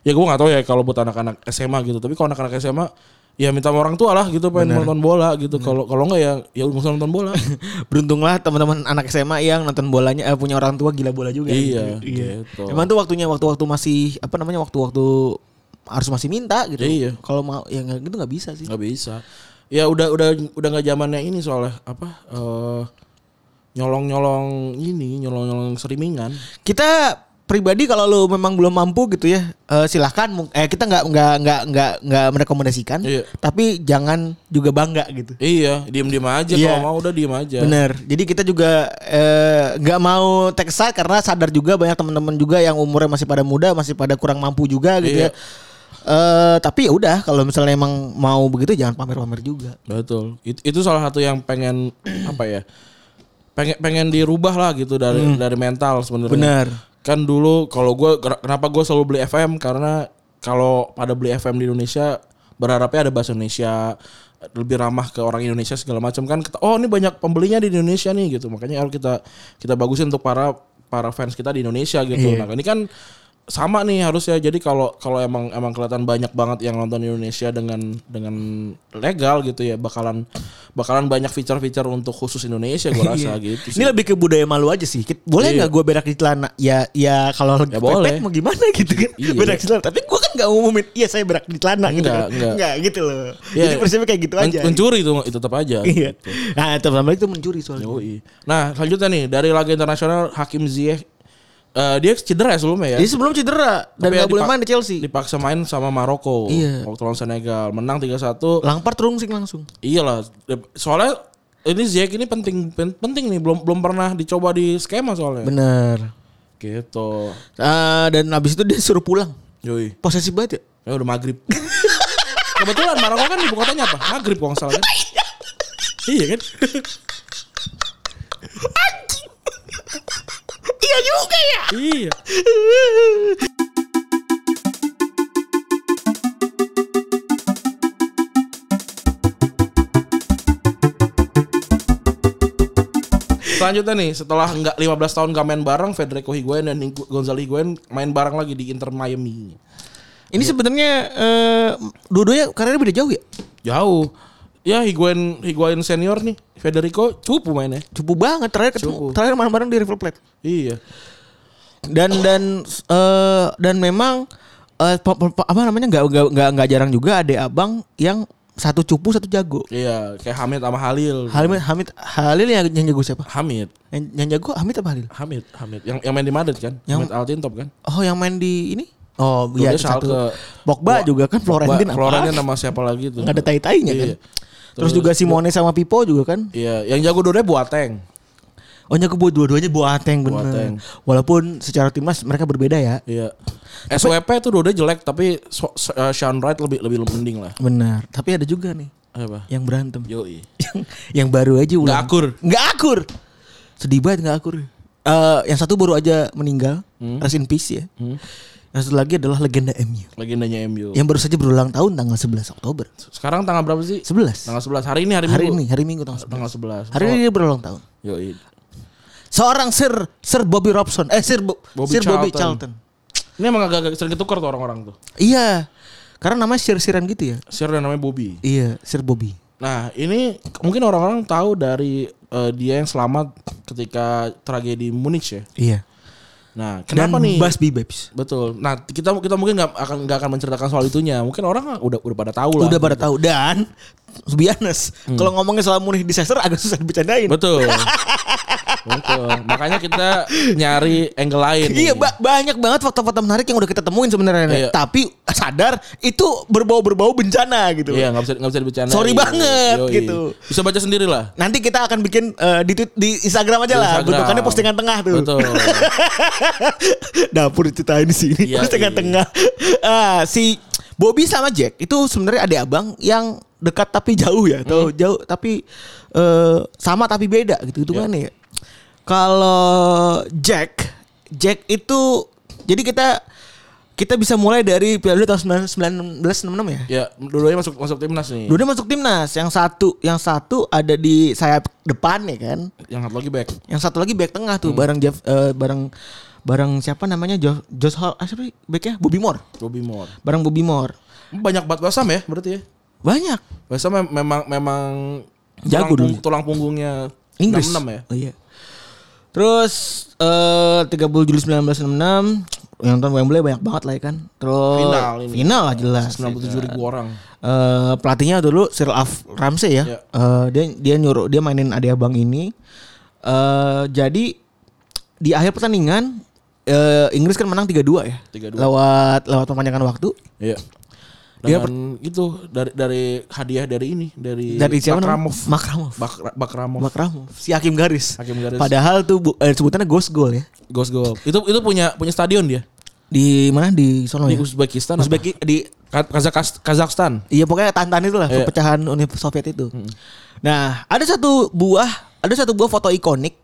Speaker 2: Ya gue nggak tahu ya kalau buat anak-anak SMA gitu. Tapi kalau anak-anak SMA ya minta sama orang tua lah gitu pengen nonton bola gitu. Kalau kalau enggak ya ya nggak usah nonton bola.
Speaker 3: Beruntunglah teman-teman anak SMA yang nonton bolanya eh, punya orang tua gila bola juga.
Speaker 2: Iya,
Speaker 3: iya.
Speaker 2: gitu.
Speaker 3: Emang tuh waktunya waktu-waktu masih apa namanya waktu-waktu harus masih minta gitu.
Speaker 2: Iya.
Speaker 3: Kalau mau ya nggak- gitu nggak bisa sih.
Speaker 2: Nggak bisa. Ya udah udah udah nggak zamannya ini soalnya apa eh, nyolong-nyolong ini, nyolong-nyolong streamingan.
Speaker 3: Kita pribadi kalau lu memang belum mampu gitu ya eh, silahkan mung- eh kita nggak nggak nggak nggak nggak merekomendasikan
Speaker 2: Iya.
Speaker 3: tapi jangan juga bangga gitu
Speaker 2: Iya, diem-diem aja
Speaker 3: Iya.
Speaker 2: kalau mau udah diem aja.
Speaker 3: Bener. Jadi kita juga eh, nggak mau take side karena sadar juga banyak teman-teman juga yang umurnya masih pada muda, masih pada kurang mampu juga
Speaker 2: Iya.
Speaker 3: gitu ya. Eh, tapi ya udah kalau misalnya emang mau begitu jangan pamer-pamer juga.
Speaker 2: Betul. It- itu salah satu yang pengen apa ya? Pengen pengen dirubah lah gitu dari dari mental sebenarnya.
Speaker 3: Bener.
Speaker 2: Kan dulu kalau gua ker- kenapa gua selalu beli FM karena kalau pada beli FM di Indonesia berharapnya ada bahasa Indonesia lebih ramah ke orang Indonesia segala macam kan kita, oh ini banyak pembelinya di Indonesia nih gitu makanya harus kita kita bagusin untuk para para fans kita di Indonesia gitu
Speaker 3: Iya.
Speaker 2: nah ini kan sama nih harusnya jadi kalau kalau emang emang kelihatan banyak banget yang nonton Indonesia dengan dengan legal gitu ya bakalan bakalan banyak feature-feature untuk khusus Indonesia gua rasa gitu sih.
Speaker 3: Iya. Ini lebih ke budaya malu aja sih. Kit- Boleh
Speaker 2: Iya.
Speaker 3: nggak gue berak di celana? Ya ya kalau lagi
Speaker 2: Ya boleh.
Speaker 3: mau gimana gitu kan.
Speaker 2: Iya.
Speaker 3: Berak di celana. Tapi gue kan nggak ngumumin. Iya saya berak di celana gitu.
Speaker 2: Nggak,
Speaker 3: kan.
Speaker 2: nggak.
Speaker 3: Nggak, gitu loh.
Speaker 2: Iya.
Speaker 3: Jadi prinsipnya kayak gitu
Speaker 2: Men-
Speaker 3: aja.
Speaker 2: Mencuri itu itu tetap aja.
Speaker 3: Iya. Nah, tambah itu mencuri soalnya.
Speaker 2: Yoi. Nah, selanjutnya nih dari laga internasional Hakim Ziyech eh, dia cedera ya sebelumnya ya.
Speaker 3: Jadi sebelum cedera Iya, dan
Speaker 2: Tapi ya
Speaker 3: nggak boleh
Speaker 2: dipak-
Speaker 3: main di Chelsea.
Speaker 2: Dipaksa main sama Maroko
Speaker 3: Iya.
Speaker 2: waktu lawan Senegal, menang 3-1.
Speaker 3: Lampard terungsing langsung.
Speaker 2: Iyalah, soalnya ini Ziyech ini penting pen- penting nih belum belum pernah dicoba di skema soalnya.
Speaker 3: Bener.
Speaker 2: Gitu.
Speaker 3: Ah, dan abis itu dia suruh pulang.
Speaker 2: Yoi.
Speaker 3: Posesif banget
Speaker 2: Ya
Speaker 3: ya.
Speaker 2: udah maghrib. Kebetulan Maroko kan ibu kotanya apa? Maghrib kalau nggak salah kan? iya kan?
Speaker 3: Iya juga ya.
Speaker 2: iya. Selanjutnya nih, setelah nggak 15 tahun gak main bareng, Federico Higuain dan Higu- Gonzalo Higuain main bareng lagi di Inter Miami.
Speaker 3: Ini sebenarnya eh dua-duanya karirnya beda jauh ya.
Speaker 2: Jauh. Ya Higuain Higuain senior nih, Federico cupu mainnya.
Speaker 3: Cupu banget terakhir ketemu
Speaker 2: Cupu.
Speaker 3: terakhir main bareng di River Plate.
Speaker 2: Iya.
Speaker 3: Dan dan eh dan memang eh, pe- pe- pe- apa namanya nggak nggak nggak nggak jarang juga ada abang yang satu cupu satu jago.
Speaker 2: Iya, kayak Hamid sama Halil.
Speaker 3: Hamid Hamid Halil yang, yang jago siapa?
Speaker 2: Hamid.
Speaker 3: Yang, yang jago Hamid apa Halil?
Speaker 2: Hamid, Hamid. Yang yang main di Madrid kan? Hamid
Speaker 3: Yang-
Speaker 2: Altintop kan?
Speaker 3: Oh yang main di ini? Oh
Speaker 2: Dulu
Speaker 3: iya
Speaker 2: dia
Speaker 3: satu.
Speaker 2: Schalke. Wah,
Speaker 3: Pogba juga kan Florentin
Speaker 2: Ba-
Speaker 3: apa?
Speaker 2: Florentin nama siapa lagi tuh?
Speaker 3: Nggak ada tai-tainya kan.
Speaker 2: Iya.
Speaker 3: Terus, juga Simone sama Pipo juga kan.
Speaker 2: Iya, yang jago dua Boateng.
Speaker 3: Oh nyaku buat dua-duanya Boateng bener.
Speaker 2: Boateng.
Speaker 3: Walaupun secara timnas mereka berbeda ya.
Speaker 2: Iya. SWP tuh dua jelek tapi so, so- uh, Sean Wright lebih lebih mending lah.
Speaker 3: Benar. Tapi ada juga nih
Speaker 2: Apa?
Speaker 3: yang berantem.
Speaker 2: Yoi.
Speaker 3: yang, yang baru aja ulang.
Speaker 2: Nggak akur.
Speaker 3: Nggak akur. Sedih banget nggak akur. Eh, yang satu baru aja meninggal.
Speaker 2: Hmm.
Speaker 3: Rest in peace ya. Yang satu lagi adalah legenda MU.
Speaker 2: Legendanya MU.
Speaker 3: Yang baru saja berulang tahun tanggal 11 Oktober.
Speaker 2: Sekarang tanggal berapa sih?
Speaker 3: 11.
Speaker 2: Tanggal 11. Hari ini hari,
Speaker 3: Hari
Speaker 2: Minggu.
Speaker 3: ini, hari Minggu tanggal 11.
Speaker 2: Tanggal 11.
Speaker 3: Hari ini dia berulang tahun.
Speaker 2: Yoi.
Speaker 3: Seorang Sir Sir Bobby Robson, eh Sir Bo-
Speaker 2: Bobby
Speaker 3: Sir Bobby
Speaker 2: Charlton.
Speaker 3: Charlton.
Speaker 2: Ini emang agak-agak sering ketukar tuh orang-orang tuh.
Speaker 3: Iya. Karena namanya sir-siran gitu ya.
Speaker 2: Sir yang namanya Bobby.
Speaker 3: Iya, Sir Bobby.
Speaker 2: Nah, ini k- mungkin orang-orang tahu dari eh, dia yang selamat ketika tragedi Munich ya.
Speaker 3: Iya.
Speaker 2: Nah, kenapa nih?
Speaker 3: Busby Babes.
Speaker 2: Betul. Nah, kita kita mungkin nggak akan nggak akan menceritakan soal itunya. Mungkin orang udah udah pada tahu lah.
Speaker 3: Udah pada tahu dan to be honest, kalau ngomongin soal Munich disaster agak susah dibicarain.
Speaker 2: Hmm. Betul. Betul. Makanya kita nyari angle lain.
Speaker 3: Iya, ba- banyak banget fakta-fakta menarik yang udah kita temuin sebenarnya. Nek.
Speaker 2: Iya.
Speaker 3: Tapi sadar itu berbau-berbau bencana gitu.
Speaker 2: Iya, nggak bisa nggak bisa dibicarain.
Speaker 3: Sorry banget, gitu.
Speaker 2: Bisa baca sendiri lah.
Speaker 3: Nanti kita akan bikin eh, di, tweet- di Instagram
Speaker 2: Di
Speaker 3: aja Iya lah,
Speaker 2: Instagram.
Speaker 3: bentukannya postingan tengah tuh.
Speaker 2: Betul.
Speaker 3: dapur diceritain di sini
Speaker 2: Iya,
Speaker 3: terus tengah-tengah Ah, si Bobby sama Jack itu sebenarnya adik abang yang dekat tapi jauh ya atau
Speaker 2: Hmm.
Speaker 3: jauh tapi eh, sama tapi beda gitu
Speaker 2: Iya.
Speaker 3: gitu kan ya kalau Jack Jack itu jadi kita kita bisa mulai dari Piala Dunia tahun 1966 ya
Speaker 2: Ya, dulunya masuk masuk timnas nih.
Speaker 3: Dua masuk timnas yang satu yang satu ada di sayap depan ya kan
Speaker 2: Yang satu lagi back.
Speaker 3: yang satu lagi back tengah
Speaker 2: Hmm.
Speaker 3: tuh bareng Jeff eh, bareng bareng siapa namanya Josh Josh Hall ah, siapa sih backnya Bobby Moore
Speaker 2: Bobby Moore.
Speaker 3: bareng Bobby Moore
Speaker 2: Banyak banget West Ham ya berarti ya.
Speaker 3: Banyak.
Speaker 2: West Ham mem- memang memang
Speaker 3: Jago
Speaker 2: tulang,
Speaker 3: dulu.
Speaker 2: pung- tulang punggungnya
Speaker 3: Inggris.
Speaker 2: 66 ya.
Speaker 3: Oh, iya. Terus eh 30 Juli 1966 yang nonton Wembley banyak banget lah ya kan. Terus
Speaker 2: Final ini.
Speaker 3: final lah jelas.
Speaker 2: 97
Speaker 3: iya.
Speaker 2: ribu orang.
Speaker 3: Eh, pelatihnya dulu Sir Af Ramsey ya.
Speaker 2: Iya.
Speaker 3: Eh, dia dia nyuruh dia mainin adik abang ini. Eh, jadi di akhir pertandingan eh, Inggris kan menang 3-2 ya.
Speaker 2: 3-2.
Speaker 3: Lewat lewat perpanjangan waktu.
Speaker 2: Iya.
Speaker 3: Dia
Speaker 2: Dan itu dari dari hadiah dari ini dari,
Speaker 3: Dari siapa namanya?
Speaker 2: Bakramov.
Speaker 3: Iya, Makramov.
Speaker 2: Bak- Bakramov.
Speaker 3: Makramov. Si Hakim Garis.
Speaker 2: Hakim Garis.
Speaker 3: Padahal tuh bu- eh, sebutannya ghost goal ya.
Speaker 2: Ghost Goal. Itu itu punya punya stadion dia
Speaker 3: Di mana di sono
Speaker 2: di
Speaker 3: ya?
Speaker 2: Uzbekistan. apa?
Speaker 3: Uzbeki di
Speaker 2: Ka- Kazakhs- Kazakhstan.
Speaker 3: Iya pokoknya tantan itu lah
Speaker 2: Iya.
Speaker 3: perpecahan Uni Soviet itu. Nah ada satu buah ada satu buah foto ikonik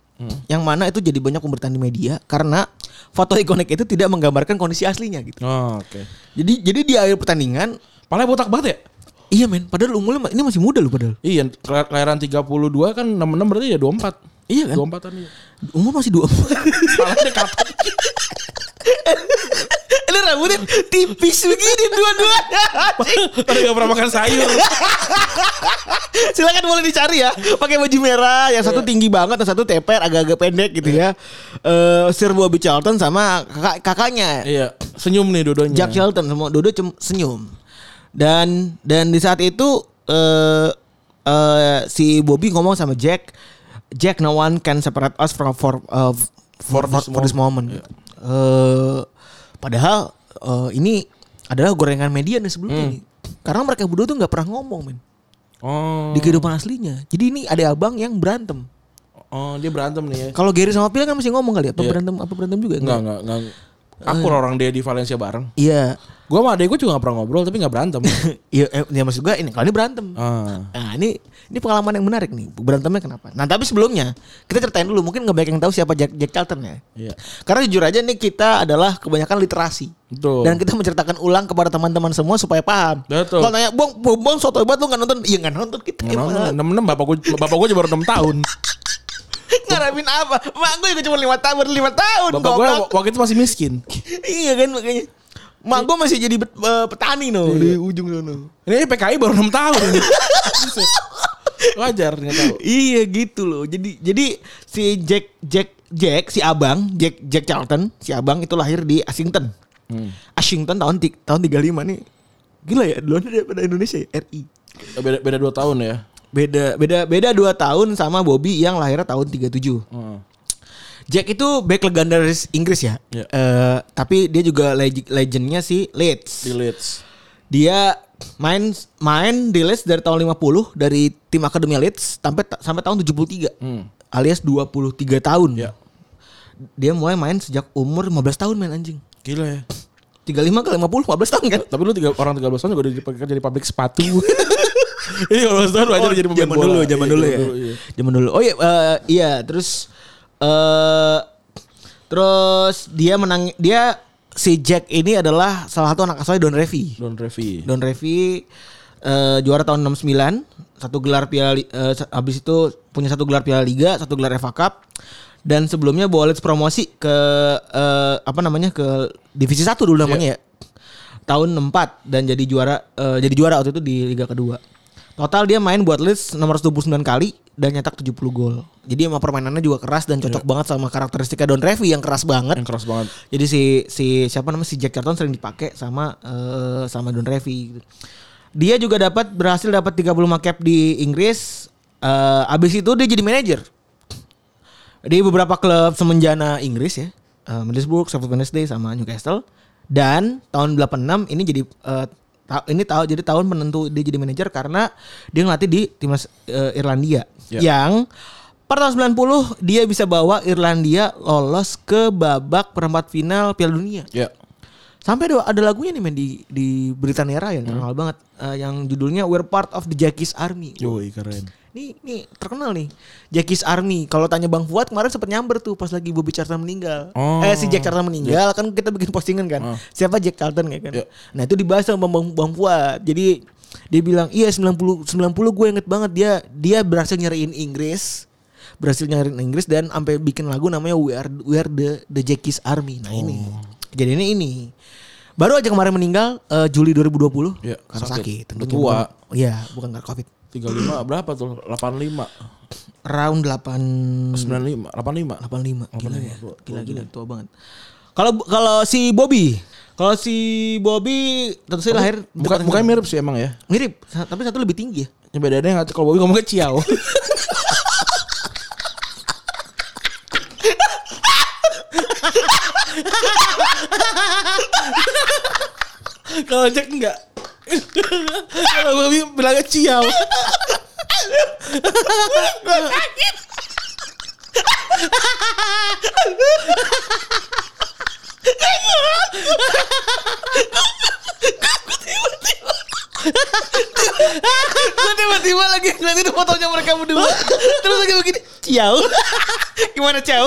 Speaker 3: yang mana itu jadi banyak pemberitaan di media karena foto ikonik itu tidak menggambarkan kondisi aslinya gitu.
Speaker 2: Oh, oke.
Speaker 3: Jadi jadi di akhir pertandingan
Speaker 2: Palanya botak banget ya?
Speaker 3: iya men padahal umurnya ma- ini masih muda loh padahal
Speaker 2: Iya, kela- kelahiran 32 kan 66 berarti ya 24.
Speaker 3: Iya kan?
Speaker 2: 24-an iya.
Speaker 3: umur masih dua.
Speaker 2: Palanya kapok.
Speaker 3: ini rambutnya tipis begini dua-duanya.
Speaker 2: Udah gak pernah makan sayur.
Speaker 3: Silakan boleh dicari ya. Pakai baju merah, yang satu tinggi banget, yang satu teper agak-agak pendek gitu ya. Eh Sir Bobby Charlton sama kakak- kakaknya
Speaker 2: iya, senyum nih dua-duanya.
Speaker 3: Jack Hilton semua Dodo cem- senyum. Dan dan di saat itu eh eh, si Bobby ngomong sama Jack, Jack no one can separate us from for eh, for, for, for this, moment. gitu. Eh, padahal eh, ini adalah gorengan media nih sebelum ini. Karena mereka berdua tuh nggak pernah ngomong men
Speaker 2: Oh.
Speaker 3: di kehidupan aslinya. Jadi ini ada abang yang berantem.
Speaker 2: Oh, dia berantem nih ya.
Speaker 3: Kalau Gary sama Phil kan masih ngomong kali apa berantem apa berantem juga ya?"
Speaker 2: Enggak, enggak, enggak. Akur orang dia di Valencia bareng.
Speaker 3: Iya.
Speaker 2: Gua sama adek gua juga gak pernah ngobrol tapi gak berantem.
Speaker 3: Iya, eh, ya maksud gue ini kalau ini berantem.
Speaker 2: ah.
Speaker 3: Nah ini ini pengalaman yang menarik nih berantemnya kenapa? Nah tapi sebelumnya kita ceritain dulu mungkin nggak banyak yang tahu siapa Jack, Jack Charlton ya.
Speaker 2: Iya.
Speaker 3: Karena jujur aja nih kita adalah kebanyakan literasi
Speaker 2: Betul.
Speaker 3: dan kita menceritakan ulang kepada teman-teman semua supaya paham.
Speaker 2: Betul.
Speaker 3: Kalau tanya bong bong, bong soto hebat lu nggak nonton? Iya nggak nonton kita.
Speaker 2: Nggak
Speaker 3: emang.
Speaker 2: nonton, 66 bapak gua bapak gua aja baru 6 tahun.
Speaker 3: Ngarepin apa? Mak gue juga cuma lima tahun baru lima tahun.
Speaker 2: Bapak gua
Speaker 3: goblok.
Speaker 2: waktu itu masih miskin.
Speaker 3: iya kan makanya. Mak gue masih jadi bet- eh, petani no
Speaker 2: Iya.
Speaker 3: di ujung sana.
Speaker 2: Ini PKI baru 6 tahun. Wajar nggak tahu.
Speaker 3: Iya gitu loh. Jadi jadi si Jack Jack Jack si abang Jack Jack Charlton si abang itu lahir di Ashington.
Speaker 2: Hmm.
Speaker 3: Ashington tahun ti- tahun 35 nih. Gila ya, duluan daripada Indonesia ya, RI.
Speaker 2: Beda beda 2 tahun ya.
Speaker 3: Beda beda beda 2 tahun sama Bobby yang lahirnya tahun 37.
Speaker 2: Heeh.
Speaker 3: Jack itu back legendaris Inggris ya.
Speaker 2: Iya.
Speaker 3: Eh, tapi dia juga leg- legendnya
Speaker 2: Di
Speaker 3: si Leeds.
Speaker 2: Leeds.
Speaker 3: Dia main main di Leeds dari tahun 50 dari tim akademi Leeds sampai sampai tahun 73.
Speaker 2: Hmm.
Speaker 3: alias 23 tahun.
Speaker 2: Ya.
Speaker 3: Dia mulai main sejak umur 15 tahun main anjing.
Speaker 2: Gila ya.
Speaker 3: 35 ke 50 15 tahun kan?
Speaker 2: Tapi lu tiga, orang 13 tahun juga udah dipakai jadi pabrik sepatu. Iya, Ini orang tahun wajar Oh, jadi pemain
Speaker 3: zaman
Speaker 2: bola.
Speaker 3: dulu, zaman
Speaker 2: Iya,
Speaker 3: dulu ya.
Speaker 2: iya.
Speaker 3: Zaman dulu. Oh iya, eh, iya, terus eh terus dia menang dia si Jack ini adalah salah satu anak asuhnya Don Revy.
Speaker 2: Don Revy.
Speaker 3: Don Revy eh, juara tahun 69, satu gelar Piala Li- eh, sa- habis itu punya satu gelar Piala Liga, satu gelar FA Cup dan sebelumnya Boa Leeds promosi ke eh, apa namanya ke divisi 1 dulu namanya ya. Tahun 64 dan jadi juara eh, jadi juara waktu itu di liga kedua. Total dia main buat Leeds 629 kali dan nyetak 70 gol. Jadi emang permainannya juga keras dan cocok banget sama karakteristiknya Don Revy yang keras banget.
Speaker 2: Yang keras banget.
Speaker 3: Jadi si si siapa namanya si Jack Charlton sering dipakai sama eh, sama Don Revy. gitu. Dia juga dapat berhasil dapat 30 cap di Inggris. Eh, abis itu dia jadi manajer di beberapa klub semenjana Inggris ya. Eh, Middlesbrough, Sheffield Wednesday sama Newcastle. Dan tahun 86 ini jadi eh, ta- ini tahu jadi tahun penentu dia jadi manajer karena dia ngelatih di timnas eh, Irlandia
Speaker 2: Ya.
Speaker 3: yang per tahun 90 dia bisa bawa Irlandia lolos ke babak perempat final Piala Dunia.
Speaker 2: Ya.
Speaker 3: Sampai ada, ada lagunya nih men di di Britania Raya yang terkenal banget eh, yang judulnya We're Part of the Jackies Army.
Speaker 2: Yoi keren.
Speaker 3: Nih, nih terkenal nih. Jackie's Army. Kalau tanya Bang Fuad kemarin sempat nyamber tuh pas lagi Bobby Charlton meninggal.
Speaker 2: Oh.
Speaker 3: Eh si Jack Charlton meninggal kan kita bikin postingan kan. Siapa Jack Charlton kayak kan.
Speaker 2: Iya.
Speaker 3: Nah, itu dibahas sama Bang, Bang Fuad. Jadi dia bilang, "Iya 90 90 gue inget banget dia dia berhasil nyariin Inggris." Berhasil nyariin Inggris dan sampai
Speaker 2: Oh.
Speaker 3: bikin lagu namanya We Are We Are the the Jackie's Army. Nah, ini. Kejadiannya ini. Baru aja kemarin meninggal eh, Juli 2020
Speaker 2: Iya,
Speaker 3: karena
Speaker 2: sakit.
Speaker 3: sakit.
Speaker 2: Udah
Speaker 3: tentunya.
Speaker 2: tua.
Speaker 3: Bukan- Iya, bukan karena Covid.
Speaker 2: 35 berapa tuh? 85.
Speaker 3: Round 8
Speaker 2: 95, 85. 85,
Speaker 3: 85. Gila ya.
Speaker 2: tua-
Speaker 3: Gila gila tua banget. Kalau kalau si Bobby, kalau si Bobby tentu saja lahir di
Speaker 2: Muka,
Speaker 3: tempat yang
Speaker 2: mukanya mirip sih emang ya.
Speaker 3: mirip, sa- tapi satu lebih tinggi
Speaker 2: Ya
Speaker 3: ya.
Speaker 2: bedanya nggak- kalau Bobby ngomongnya ciao. kalau Jack enggak. kalau Bobby bilangnya ciao.
Speaker 3: Gue tiba-tiba lagi ngeliatin fotonya mereka berdua. Terus lagi begini, ciao. Gimana ciao?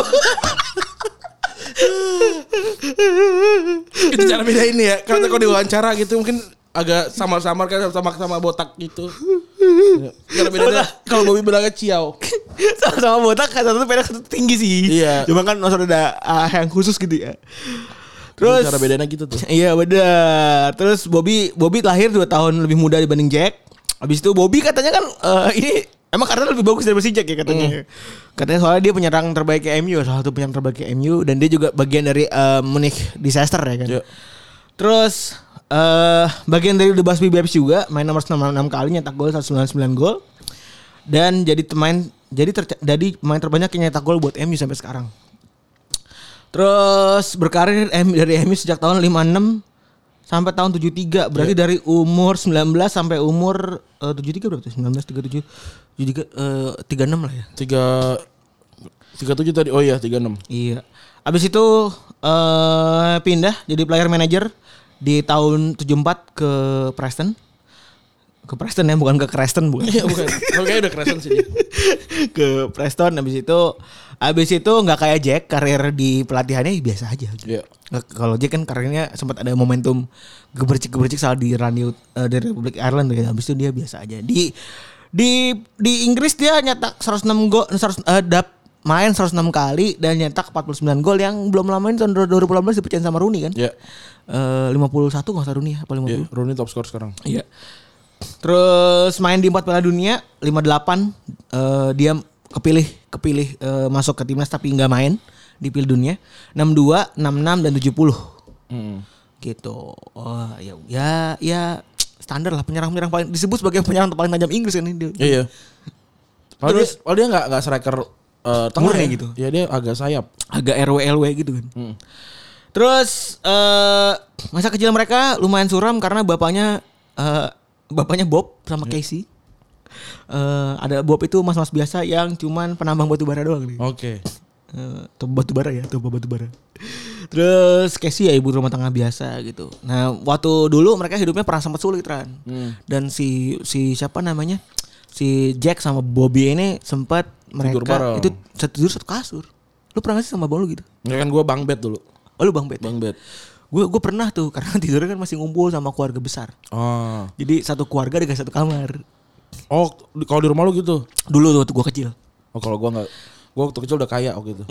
Speaker 2: Itu cara beda ini ya. Karena kalau diwawancara gitu mungkin agak samar-samar kan sama sama botak gitu. Cara bedanya kalau Bobby bilangnya ciao.
Speaker 3: Sama-sama botak, satu tuh pendek, satu tinggi sih.
Speaker 2: Iya.
Speaker 3: Cuma kan Mas ada ah, yang khusus gitu ya. Terus
Speaker 2: cara bedanya gitu tuh.
Speaker 3: Iya benar. Terus Bobby Bobby lahir 2 tahun lebih muda dibanding Jack. Habis itu Bobby katanya kan eh, ini emang karena lebih bagus dari si Jack ya katanya. Katanya soalnya dia penyerang terbaik ke MU, salah satu penyerang terbaik ke MU dan dia juga bagian dari eh, Munich disaster ya kan.
Speaker 2: Iya.
Speaker 3: Terus eh bagian dari The Busby Babes juga main nomor 96 kali nyetak gol 199 gol. Dan jadi pemain jadi terca- jadi pemain terbanyak yang nyetak gol buat MU sampai sekarang. Terus berkarir M- dari MU sejak tahun 56 sampai tahun 73. Berarti dari umur 19 sampai umur eh, 73 berapa tuh? 19 37 73 eh, 36 lah ya.
Speaker 2: tiga tiga tujuh tadi oh iya tiga enam
Speaker 3: Iya. Abis itu eh pindah jadi player manager di tahun 74 ke Preston. Ke Preston ya, bukan ke Creston bukan.
Speaker 2: iya bukan kayaknya udah kerasan sih dia.
Speaker 3: ke Preston abis itu abis itu nggak kayak Jack karir di pelatihannya biasa aja.
Speaker 2: Iya.
Speaker 3: Nggak- Kalau Jack kan karirnya sempat ada momentum gebercik-gebercik salah di Radio eh, dari Republik Ireland tuh ya. Habis itu dia biasa aja. Di di di Inggris dia nyetak 106 gol 100 eh, dap- main 106 kali dan nyetak 49 gol yang belum lama ini tahun 2018 dipecahin sama Rooney kan.
Speaker 2: Iya.
Speaker 3: Eh, 51 nggak usah Rooney ya, apa 50?
Speaker 2: Iya, Rooney top score sekarang
Speaker 3: Iya. Terus main di empat Piala Dunia 58 eh, dia kepilih kepilih eh, masuk ke timnas tapi nggak main di Piala Dunia 62, 66 dan 70.
Speaker 2: Hmm.
Speaker 3: Gitu. Oh, ya ya ya standar lah penyerang-penyerang paling disebut sebagai penyerang paling tajam Inggris kan ini dia.
Speaker 2: iya iya kalau dia kalau dia nggak nggak striker eh, tengah
Speaker 3: Murni
Speaker 2: ya.
Speaker 3: gitu.
Speaker 2: ya dia agak sayap
Speaker 3: agak RW LW gitu kan. Terus eh masa kecil mereka lumayan suram karena bapaknya eh bapaknya Bob sama Casey. Eh ada Bob itu mas-mas biasa yang cuman penambang batu bara doang nih.
Speaker 2: oke
Speaker 3: Eh, tuh batu bara ya, tuh batu bara. Terus Casey ya ibu rumah tangga biasa gitu. Nah, waktu dulu mereka hidupnya pernah sempat sulit kan. Dan si si siapa namanya? Si Jack sama Bobby ini sempat mereka
Speaker 2: bareng.
Speaker 3: itu satu tidur satu kasur. Lu pernah gak sih sama bang lu gitu?
Speaker 2: ya kan gue bang bed dulu
Speaker 3: Oh lu bang Pet?
Speaker 2: bang bed
Speaker 3: Gue gue pernah tuh karena tidurnya kan masih ngumpul sama keluarga besar.
Speaker 2: oh
Speaker 3: Jadi satu keluarga dengan satu kamar.
Speaker 2: oh di- kalau di rumah lu gitu
Speaker 3: Dulu tuh waktu gue kecil.
Speaker 2: oh kalau gue nggak gue waktu kecil udah kaya waktu itu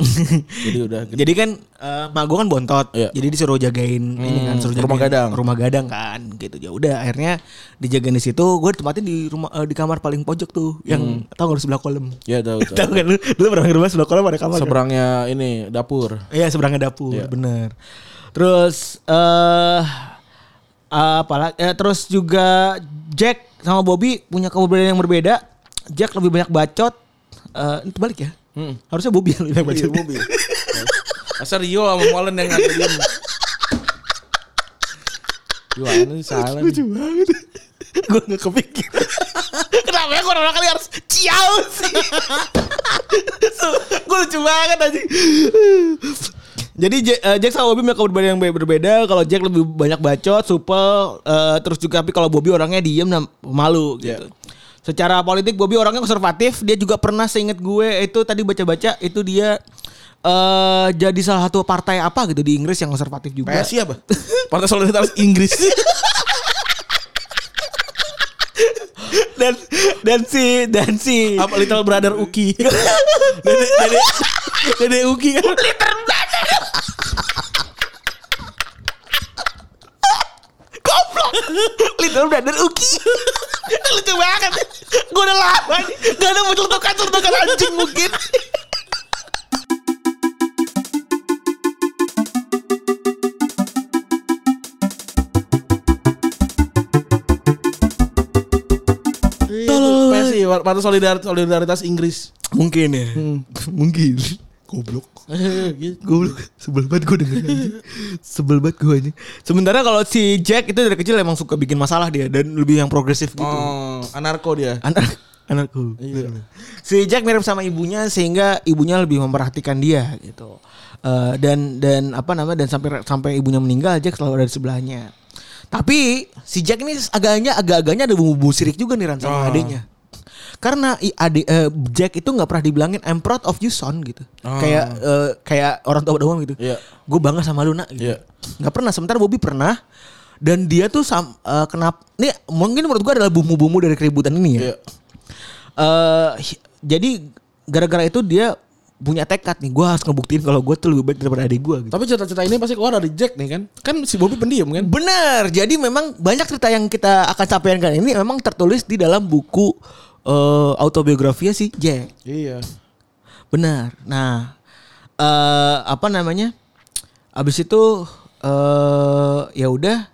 Speaker 2: jadi udah gede.
Speaker 3: Jadi kan eh, mak gue kan bontot.
Speaker 2: Iya. Hmm,
Speaker 3: Jadi disuruh jagain ini kan suruh
Speaker 2: rumah
Speaker 3: jagain
Speaker 2: gadang.
Speaker 3: Rumah gadang kan gitu. Ya udah akhirnya dijagain di situ. Gue ditempatin di rumah eh, di kamar paling pojok tuh
Speaker 2: Hmm.
Speaker 3: yang tau gak lu sebelah kolam.
Speaker 2: ya tahu tahu.
Speaker 3: Tahu kan lu? Lu pernah ke rumah sebelah kolam ada kamar. kan?
Speaker 2: seberangnya ini dapur
Speaker 3: Iya seberangnya dapur, bener. Terus eh apalah eh, terus juga Jack sama Bobby punya kepribadian yang berbeda. Jack lebih banyak bacot. Eh itu balik ya. Harusnya Iya, Bobby yang lebih banyak bacot.
Speaker 2: Masa Rio sama Molen yang ngajarin. Gimana sih salah nih.
Speaker 3: banget. Gue gak kepikir. Kenapa ya orang kali harus ciao sih? Gue lucu banget aja. Jadi Jack, eh, Jack sama Bobby mereka berbeda yang berbeda. Kalau Jack lebih banyak bacot, supel, eh, terus juga tapi kalau Bobby orangnya diem dan malu gitu. Secara politik Bobby orangnya konservatif. Dia juga pernah seingat gue itu tadi baca-baca itu dia eh jadi salah satu partai apa gitu di Inggris yang konservatif juga.
Speaker 2: PSI apa? Partai Solidaritas Inggris.
Speaker 3: dan dan si dan si
Speaker 2: apa Little Brother Uki? Dede, dede, dede Uki kan. Little Brother.
Speaker 3: Dalam dari Uki. Lucu banget. Gue udah lama nih. Gak ada mau celetukan-celetukan anjing mungkin.
Speaker 2: Iya, Apa sih warna solidar- solidaritas Inggris.
Speaker 3: Mungkin ya. Mungkin. Goblok.
Speaker 2: gitu.
Speaker 3: Goblok. Sebel banget gue dengerin anjing. Sebel banget gue anjing. Sementara kalau si Jack itu dari kecil emang suka bikin masalah dia. Dan lebih yang progresif gitu.
Speaker 2: Oh, anarko dia.
Speaker 3: anak anakku.
Speaker 2: Iya.
Speaker 3: Iya. Si Jack mirip sama ibunya sehingga ibunya lebih memperhatikan dia gitu. Eh, dan dan apa namanya dan sampai sampai ibunya meninggal Jack selalu ada di sebelahnya. Tapi si Jack ini agaknya agak-agaknya ada bumbu sirik juga nih Ran
Speaker 2: Ah.
Speaker 3: sama adiknya. Karena i- adik eh, Jack itu nggak pernah dibilangin I'm proud of you son gitu.
Speaker 2: Ah.
Speaker 3: Kayak eh, kayak orang tua doang gitu.
Speaker 2: Iya.
Speaker 3: Gue bangga sama lu nak gitu.
Speaker 2: Iya.
Speaker 3: Nggak pernah. Sementara Bobby pernah. Dan dia tuh sam, eh, kenapa? Ini mungkin menurut gua adalah bumbu-bumbu dari keributan ini ya.
Speaker 2: Iya.
Speaker 3: Eh, hi- jadi gara-gara itu dia punya tekad nih. Gua harus ngebuktiin kalau gue tuh lebih baik daripada adik gue. Gitu.
Speaker 2: Tapi cerita-cerita ini pasti keluar dari Jack nih kan. Kan si Bobby pendiam kan.
Speaker 3: Bener. Jadi memang banyak cerita yang kita akan sampaikan kali ini memang tertulis di dalam buku eh, autobiografinya si Jack.
Speaker 2: Iya.
Speaker 3: Benar. Nah, eh apa namanya? Abis itu eh ya udah.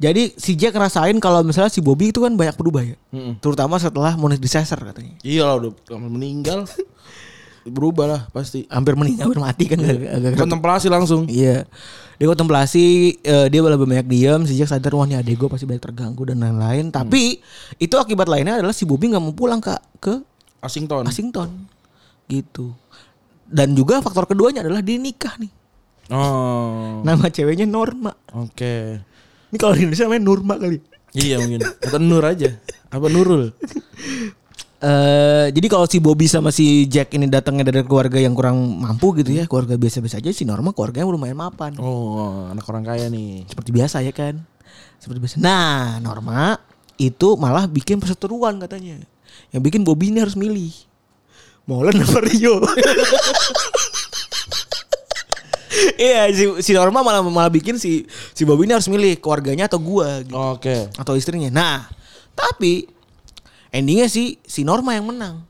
Speaker 3: Jadi si Jack ngerasain kalau misalnya si Bobby itu kan banyak berubah ya. Terutama setelah Monic Disaster katanya.
Speaker 2: Iya lah udah meninggal. Berubah lah pasti.
Speaker 3: Hampir meninggal, hampir mati kan. agak
Speaker 2: Kontemplasi langsung.
Speaker 3: Iya. Dia kontemplasi, eh, dia lebih banyak diam. Si Jack sadar, wah ini adek gue pasti banyak terganggu dan lain-lain. Tapi itu akibat lainnya adalah si Bobby nggak mau pulang ke, ke
Speaker 2: Mm. Asington.
Speaker 3: Washington. Gitu. Dan juga faktor keduanya adalah dia nikah nih.
Speaker 2: Oh.
Speaker 3: Nama ceweknya Norma.
Speaker 2: Oke.
Speaker 3: Ini kalau di Indonesia namanya Norma kali.
Speaker 2: Iya mungkin. Atau Nur aja. Apa Nurul?
Speaker 3: eh jadi kalau si Bobby sama si Jack ini datangnya dari keluarga yang kurang mampu gitu ya, keluarga biasa-biasa aja si Norma keluarganya lumayan mapan.
Speaker 2: Oh, anak orang kaya nih.
Speaker 3: Seperti biasa ya kan. Seperti biasa. Nah, Norma itu malah bikin perseteruan katanya. Yang bikin Bobby ini harus milih. Molen apa Rio? Iya, si, si Norma malah malah bikin si si Bobby ini harus milih keluarganya atau gua gitu.
Speaker 2: Oke.
Speaker 3: atau istrinya. Nah, tapi endingnya sih si Norma yang menang.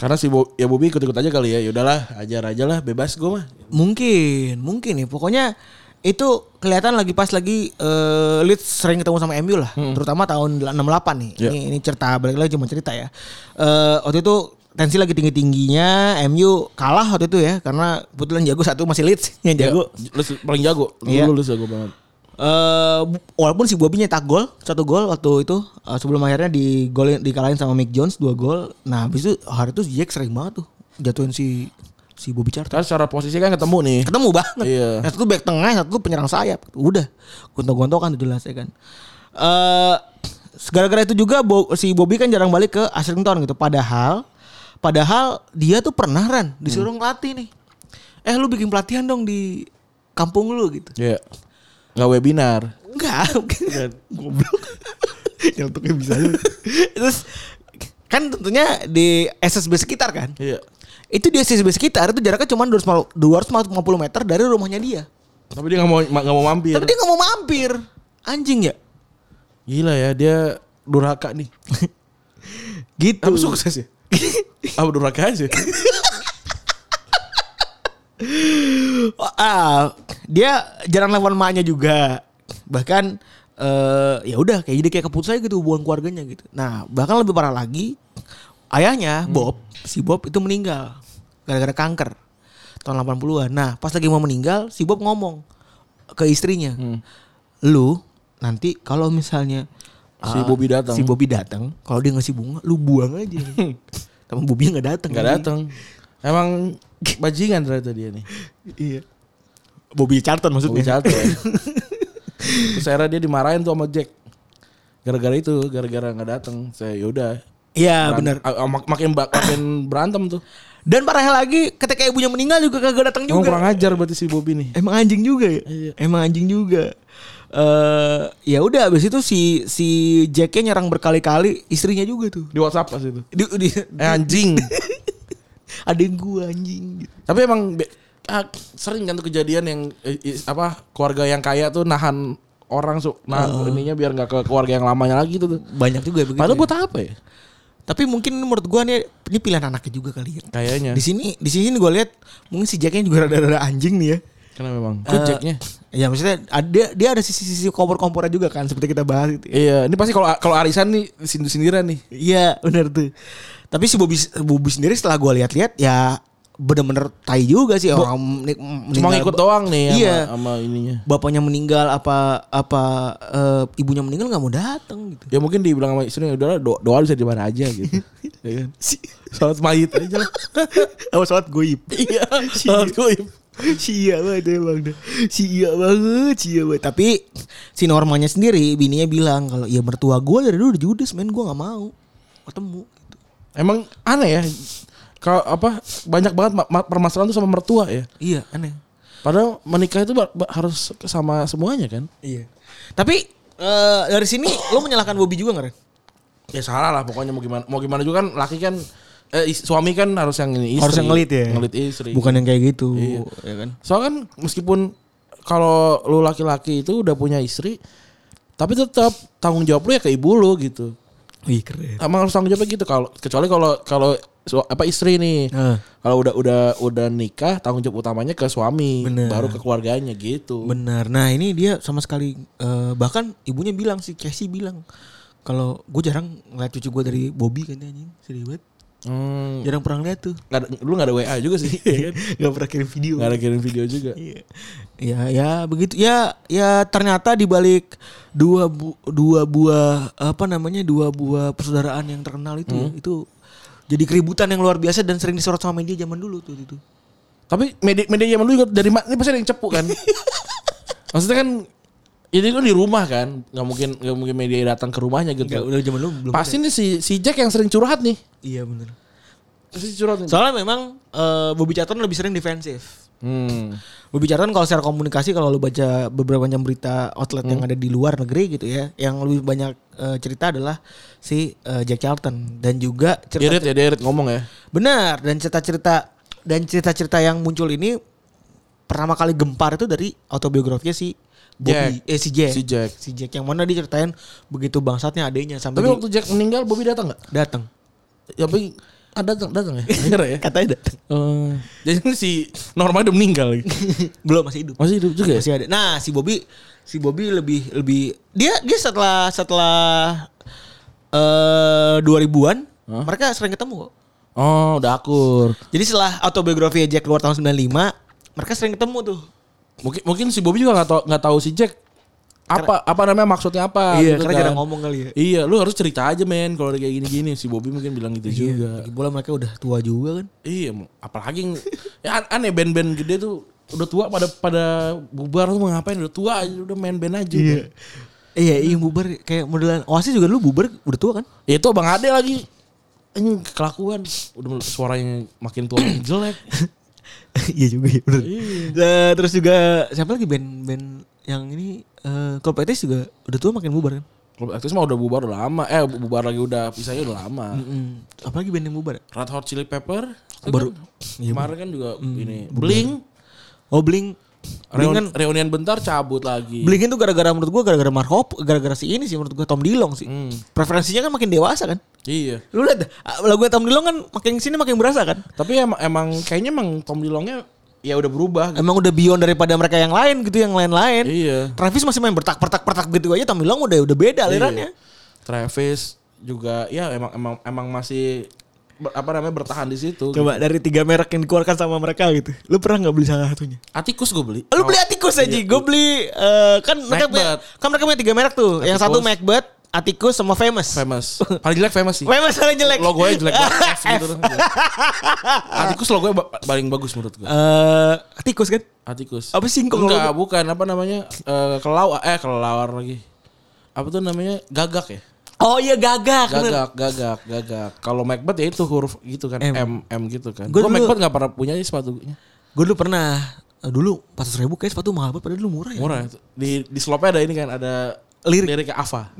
Speaker 2: Karena si Bo- ya Bobby ikut-ikut aja kali ya. Ya udahlah, ajar aja lah, bebas gue mah.
Speaker 3: Mungkin, mungkin ya. Pokoknya itu kelihatan lagi pas lagi eh, Leeds sering ketemu sama MU lah, terutama tahun 68 nih.
Speaker 2: Iya.
Speaker 3: Ini ini cerita balik lagi cuma cerita ya. Eh waktu itu tensi lagi tinggi-tingginya, MU kalah waktu itu ya karena kebetulan jago satu masih Leeds yang jago.
Speaker 2: Lu se- paling jago. Lu,
Speaker 3: Iya.
Speaker 2: lu, lu jago banget.
Speaker 3: eh walaupun si Bobby nyetak gol satu gol waktu itu eh, sebelum akhirnya di gol dikalahin sama Mick Jones dua gol nah habis itu hari itu Jack sering banget tuh jatuhin si si Bobby Charlton
Speaker 2: Kan secara posisi kan ketemu nih.
Speaker 3: ketemu banget
Speaker 2: Iya.
Speaker 3: Yang satu back tengah yang satu penyerang sayap udah gontok-gontokan tuh jelas ya kan eh gara-gara itu juga Bo- si Bobby kan jarang balik ke Ashrington gitu padahal padahal dia tuh pernah Ran disuruh ngelatih nih eh lu bikin pelatihan dong di kampung lu gitu
Speaker 2: Iya. Nggak webinar.
Speaker 3: Enggak, goblok. Nyantuknya bisa lu. Terus kan tentunya di SSB sekitar kan.
Speaker 2: Iya.
Speaker 3: Itu di SSB sekitar itu jaraknya cuma 250 250 meter dari rumahnya dia.
Speaker 2: Tapi dia nggak mau nggak mau mampir.
Speaker 3: Tapi dia nggak mau mampir. Anjing ya.
Speaker 2: Gila ya, dia durhaka nih.
Speaker 3: Gitu.
Speaker 2: Apa sukses ya? Apa durhaka aja?
Speaker 3: Ah, dia jarang nelfon emaknya juga. Bahkan eh ya udah kayak jadi kayak keputusannya gitu hubungan keluarganya gitu. Nah, bahkan lebih parah lagi ayahnya
Speaker 2: Hmm.
Speaker 3: Bob, si Bob itu meninggal gara-gara kanker tahun 80-an. Nah, pas lagi mau meninggal, si Bob ngomong ke istrinya.
Speaker 2: Hmm.
Speaker 3: Lu nanti kalau misalnya
Speaker 2: Si
Speaker 3: eh,
Speaker 2: Bobby datang."
Speaker 3: Si Bobby datang, kalau dia ngasih bunga, lu buang aja. Tapi Bobby nggak datang.
Speaker 2: Nggak
Speaker 3: anjing.
Speaker 2: datang. Emang bajingan ternyata dia nih.
Speaker 3: Iya. Bobby Charlton maksudnya.
Speaker 2: Bobby Charlton. Terus akhirnya dia dimarahin tuh sama Jack. Gara-gara itu, gara-gara nggak datang. Saya yaudah.
Speaker 3: Iya,
Speaker 2: Beran-
Speaker 3: benar.
Speaker 2: a- a- mak- makin ba- makin berantem tuh.
Speaker 3: Dan parahnya lagi ketika ibunya meninggal juga kagak datang
Speaker 2: Emang kurang
Speaker 3: juga.
Speaker 2: ajar berarti si Bobby nih.
Speaker 3: Emang anjing juga ya?
Speaker 2: Iya.
Speaker 3: Emang anjing juga. Eh ya udah abis itu si si Jacknya nyerang berkali-kali istrinya juga tuh.
Speaker 2: Di WhatsApp pas itu.
Speaker 3: Di, di,
Speaker 2: Eh anjing.
Speaker 3: ada yang gua anjing. gitu.
Speaker 2: Tapi emang be- ah, sering kan tuh kejadian yang eh, is- apa keluarga yang kaya tuh nahan orang su nah ininya biar nggak ke keluarga yang lamanya lagi tuh. tuh.
Speaker 3: banyak juga begitu.
Speaker 2: Padahal
Speaker 3: Oh. ya.
Speaker 2: buat apa ya?
Speaker 3: Tapi mungkin menurut gua nih ini pilihan anaknya juga kali ya.
Speaker 2: Kayaknya.
Speaker 3: Di sini di sini gua lihat mungkin si Jacknya juga rada-rada anjing nih ya.
Speaker 2: Karena memang
Speaker 3: Eh,
Speaker 2: Jacknya.
Speaker 3: Iya maksudnya ada dia ada sisi-sisi kompor-kompornya juga kan seperti kita bahas gitu. ya.
Speaker 2: Iya, ini pasti kalau kalau arisan nih sindir sindiran nih.
Speaker 3: Iya benar tuh. Tapi si Bobby, Bobby sendiri setelah gua lihat-lihat ya bener-bener tai juga sih orang menik-
Speaker 2: Cuma
Speaker 3: meninggal.
Speaker 2: ngikut doang nih sama,
Speaker 3: Iya.
Speaker 2: sama ininya.
Speaker 3: Bapaknya meninggal apa apa eh, ibunya meninggal nggak mau datang gitu.
Speaker 2: Ya mungkin dibilang sama istrinya udah doa, doa bisa di mana aja gitu. ya kan?
Speaker 3: Si
Speaker 2: Salat mayit aja lah.
Speaker 3: apa sholat goib.
Speaker 2: Iya, salat goib.
Speaker 3: Sia banget emang dah. Sia banget, sia banget. Tapi si Normanya sendiri bininya bilang kalau ya mertua gue dari dulu udah judes men gue nggak mau ketemu. Gitu.
Speaker 2: Emang aneh ya. Kalau apa banyak banget ma- ma- permasalahan tuh sama mertua ya.
Speaker 3: Iya aneh.
Speaker 2: Padahal menikah itu ba- ba- harus sama semuanya kan?
Speaker 3: Iya. Tapi eh, dari sini lo menyalahkan Bobby juga nggak Ren?
Speaker 2: Ya salah lah pokoknya mau gimana mau gimana juga kan laki kan eh, is- suami kan harus yang ini istri.
Speaker 3: Harus yang ngelit ya.
Speaker 2: Ngelit istri.
Speaker 3: Bukan yang kayak gitu.
Speaker 2: Iya.
Speaker 3: Ya kan?
Speaker 2: Soalnya kan meskipun kalau lu laki-laki itu udah punya istri tapi tetap tanggung jawab lu ya ke ibu lu gitu.
Speaker 3: Wih keren.
Speaker 2: Emang harus tanggung jawabnya gitu kalau kecuali kalau kalau su- apa istri nih.
Speaker 3: Heeh.
Speaker 2: Kalau udah udah udah nikah tanggung jawab utamanya ke suami,
Speaker 3: Bener.
Speaker 2: baru ke keluarganya gitu.
Speaker 3: Benar. Nah ini dia sama sekali eh, bahkan ibunya bilang si Casey bilang kalau gue jarang ngeliat cucu gue dari Bobby kan anjing sedih banget.
Speaker 2: Hmm.
Speaker 3: Jarang pernah ngeliat tuh.
Speaker 2: Nggak ada, lu gak ada WA juga sih, ya kan?
Speaker 3: Gak pernah kirim video.
Speaker 2: Gak ada kirim video juga.
Speaker 3: Iya. Ya, ya begitu. Ya, ya ternyata di balik dua bu- dua buah apa namanya dua buah persaudaraan yang terkenal itu
Speaker 2: Hmm.
Speaker 3: ya, itu jadi keributan yang luar biasa dan sering disorot sama media zaman dulu tuh itu.
Speaker 2: Tapi media media zaman dulu juga dari mana? Ini pasti ada yang cepu kan? Maksudnya kan ini kan di rumah kan, nggak mungkin nggak mungkin media datang ke rumahnya gitu.
Speaker 3: Enggak, udah zaman dulu belum.
Speaker 2: Pasti nih si si Jack yang sering curhat nih.
Speaker 3: Iya benar.
Speaker 2: Pasti curhat nih.
Speaker 3: Soalnya memang eh, Bobby Charlton lebih sering defensif.
Speaker 2: Hmm.
Speaker 3: Bobby Charlton kalau secara komunikasi kalau lu baca beberapa macam berita outlet
Speaker 2: Hmm.
Speaker 3: yang ada di luar negeri gitu ya, yang lebih banyak eh, cerita adalah si eh, Jack Charlton dan juga cerita
Speaker 2: Irit ya, dia irit ngomong ya.
Speaker 3: Benar, dan cerita-cerita dan cerita-cerita yang muncul ini pertama kali gempar itu dari autobiografinya si Bobby,
Speaker 2: Jack.
Speaker 3: eh si Jack.
Speaker 2: Si Jack.
Speaker 3: Si Jack yang mana diceritain begitu bangsatnya adanya sampai
Speaker 2: Tapi
Speaker 3: di-
Speaker 2: waktu Jack meninggal, Bobby datang nggak?
Speaker 3: datang.
Speaker 2: Ya, Tapi ada datang datang ya. Akhirnya ya.
Speaker 3: Katanya datang.
Speaker 2: Eh, jadi si Norma udah meninggal lagi.
Speaker 3: Belum masih hidup.
Speaker 2: Masih hidup juga ya?
Speaker 3: Masih ada. Nah, si Bobby si Bobby lebih lebih dia dia setelah setelah eh 2000-an mereka sering ketemu kok.
Speaker 2: Oh, udah akur.
Speaker 3: Jadi setelah autobiografi Jack keluar tahun 95, mereka sering ketemu tuh.
Speaker 2: Mungkin mungkin si Bobby juga nggak tahu nggak tahu si Jack apa apa namanya maksudnya apa
Speaker 3: iya,
Speaker 2: gitu
Speaker 3: karena
Speaker 2: kan.
Speaker 3: jarang ngomong kali ya.
Speaker 2: Iya, lu harus cerita aja men kalau ada kayak gini-gini. Si Bobby mungkin bilang gitu juga.
Speaker 3: Iya, Lagi pula mereka udah tua juga kan.
Speaker 2: Iya, mau- apalagi yang- ya, an- aneh band-band gede tuh udah tua pada pada bubar tuh mau ngapain udah tua aja udah main band aja. Iya.
Speaker 3: Iya, iya bubar kayak modelan Oasis juga dulu bubar udah tua kan?
Speaker 2: Ya, Itu Bang Ade lagi anjing kelakuan udah mul- suaranya makin tua makin jelek.
Speaker 3: Iya juga ya, bener. Nah, terus juga siapa lagi band-band yang ini eh Cold Pepper juga udah tua makin bubar kan?
Speaker 2: Klub aktif mah udah bubar udah lama. Eh, bu- bubar lagi udah pisahnya udah lama.
Speaker 3: Hmm, apalagi band yang bubar?
Speaker 2: Red Hot Chili Pepper itu
Speaker 3: Baru-
Speaker 2: kan kemarin kan juga ini Blink
Speaker 3: Oh Blink. Blink
Speaker 2: reunian,
Speaker 3: kan
Speaker 2: reunian bentar cabut lagi.
Speaker 3: Blink itu gara-gara menurut gua gara-gara Marhop, gara-gara si ini sih menurut gua Tom Dilong sih. Preferensinya kan makin dewasa kan?
Speaker 2: Iya.
Speaker 3: Lu lihat lagu Tom Dilong kan makin sini makin berasa kan?
Speaker 2: Tapi emang, emang kayaknya emang Tom Dilongnya ya udah berubah. gitu.
Speaker 3: Emang udah beyond daripada mereka yang lain gitu, yang lain-lain.
Speaker 2: Iya.
Speaker 3: Travis masih main bertak pertak pertak gitu aja Tom Dilong udah udah beda alirannya.
Speaker 2: Iya. Travis juga ya emang emang emang masih ber- apa namanya bertahan di situ. gitu.
Speaker 3: Coba dari tiga merek yang dikeluarkan sama mereka gitu. Lu pernah nggak beli salah satunya? Iya.
Speaker 2: Atikus gue beli. Oh,
Speaker 3: Lu beli Atikus aja, gue beli eh, kan mereka punya,
Speaker 2: Macbeth.
Speaker 3: kan mereka punya tiga merek tuh. Yang satu
Speaker 2: Atticus.
Speaker 3: Macbeth, Atikus sama Famous.
Speaker 2: famous. Paling jelek famous sih.
Speaker 3: Famous paling jelek.
Speaker 2: Logonya jelek banget F gitu loh. Atikus logonya ba- paling bagus menurut gue.
Speaker 3: Eh, Atikus kan?
Speaker 2: Atikus.
Speaker 3: Apa singkong
Speaker 2: Enggak,
Speaker 3: logo?
Speaker 2: bukan apa namanya? eh kelau eh kelawar lagi. Apa tuh namanya? Gagak ya?
Speaker 3: Oh iya gagak. bener.
Speaker 2: Gagak, gagak, gagak. Kalau Macbeth ya itu huruf gitu kan, M,
Speaker 3: M.
Speaker 2: M, gitu kan.
Speaker 3: Gua
Speaker 2: Gue
Speaker 3: dulu-
Speaker 2: Macbeth gak pernah punya sih sepatunya.
Speaker 3: Gue dulu pernah eh, dulu 400 ribu kayak sepatu mahal banget padahal dulu murah ya.
Speaker 2: Murah. Di di slopnya ada ini kan ada
Speaker 3: Lirik. Iya.
Speaker 2: lirik Ava.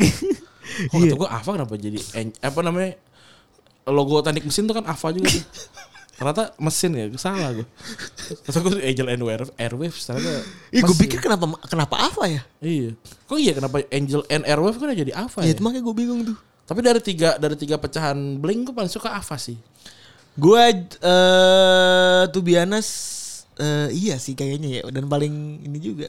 Speaker 2: Oh, kata gue Ava kenapa jadi en- apa namanya? Logo teknik mesin tuh kan Ava juga. tuh. ternyata mesin ya salah gue terus aku Angel and Airwaves Airwaves ternyata
Speaker 3: Ih, gue
Speaker 2: mesin.
Speaker 3: pikir kenapa kenapa apa ya?
Speaker 2: iya kok iya kenapa Angel and Airwaves kan jadi Ava ya,
Speaker 3: Ya itu makanya gue bingung tuh.
Speaker 2: tapi dari tiga dari tiga pecahan Blink gue paling suka Ava sih
Speaker 3: Gue eh tuh Bianas iya sih kayaknya ya dan paling ini juga.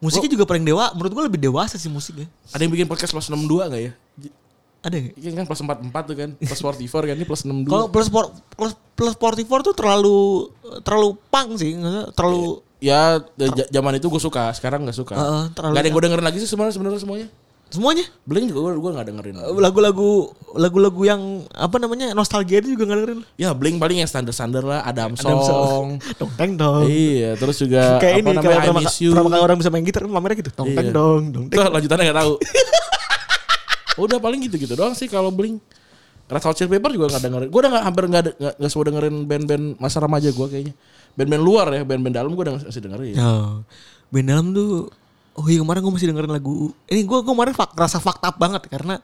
Speaker 3: Musiknya juga paling dewa, menurut gue lebih dewasa sih musiknya.
Speaker 2: ada yang bikin podcast plus 62 gak ya J-
Speaker 3: Ada nggak?
Speaker 2: ini kan plus 44 tuh kan plus 44 kan ini plus 62
Speaker 3: Kalau plus por- plus plus 44 tuh terlalu terlalu pang sih, nggak- terlalu
Speaker 2: ya da- ja- zaman itu gue suka sekarang nggak suka
Speaker 3: Heeh, terlalu- ya.
Speaker 2: gak ada yang gue dengerin lagi sih sebenarnya sebenarnya semuanya
Speaker 3: semuanya
Speaker 2: Blink juga gue gak dengerin
Speaker 3: lagu-lagu lagu-lagu yang apa namanya nostalgia itu juga nggak dengerin.
Speaker 2: ya Blink paling yang standar standar lah Adam,
Speaker 3: Adam
Speaker 2: Song
Speaker 3: Song. Dong teng dong.
Speaker 2: iya terus juga
Speaker 3: Kayak ini kalau
Speaker 2: namanya I
Speaker 3: pertama,
Speaker 2: Miss You
Speaker 3: pertama kali orang bisa main gitar kan pamernya gitu. Dong teng
Speaker 2: Iya.
Speaker 3: dong dong teng.
Speaker 2: Tuh, lanjutannya gak tahu udah paling gitu gitu doang sih kalau Blink Red Hot Chili Pepper juga gak dengerin gue udah gak, hampir gak, ada- gak, gak semua dengerin band-band masa remaja gue kayaknya band-band luar ya band-band dalam gue udah masih dengerin
Speaker 3: Ya, band dalam tuh Oh iya kemarin gue masih dengerin lagu Ini gue kemarin fak, rasa fakta banget Karena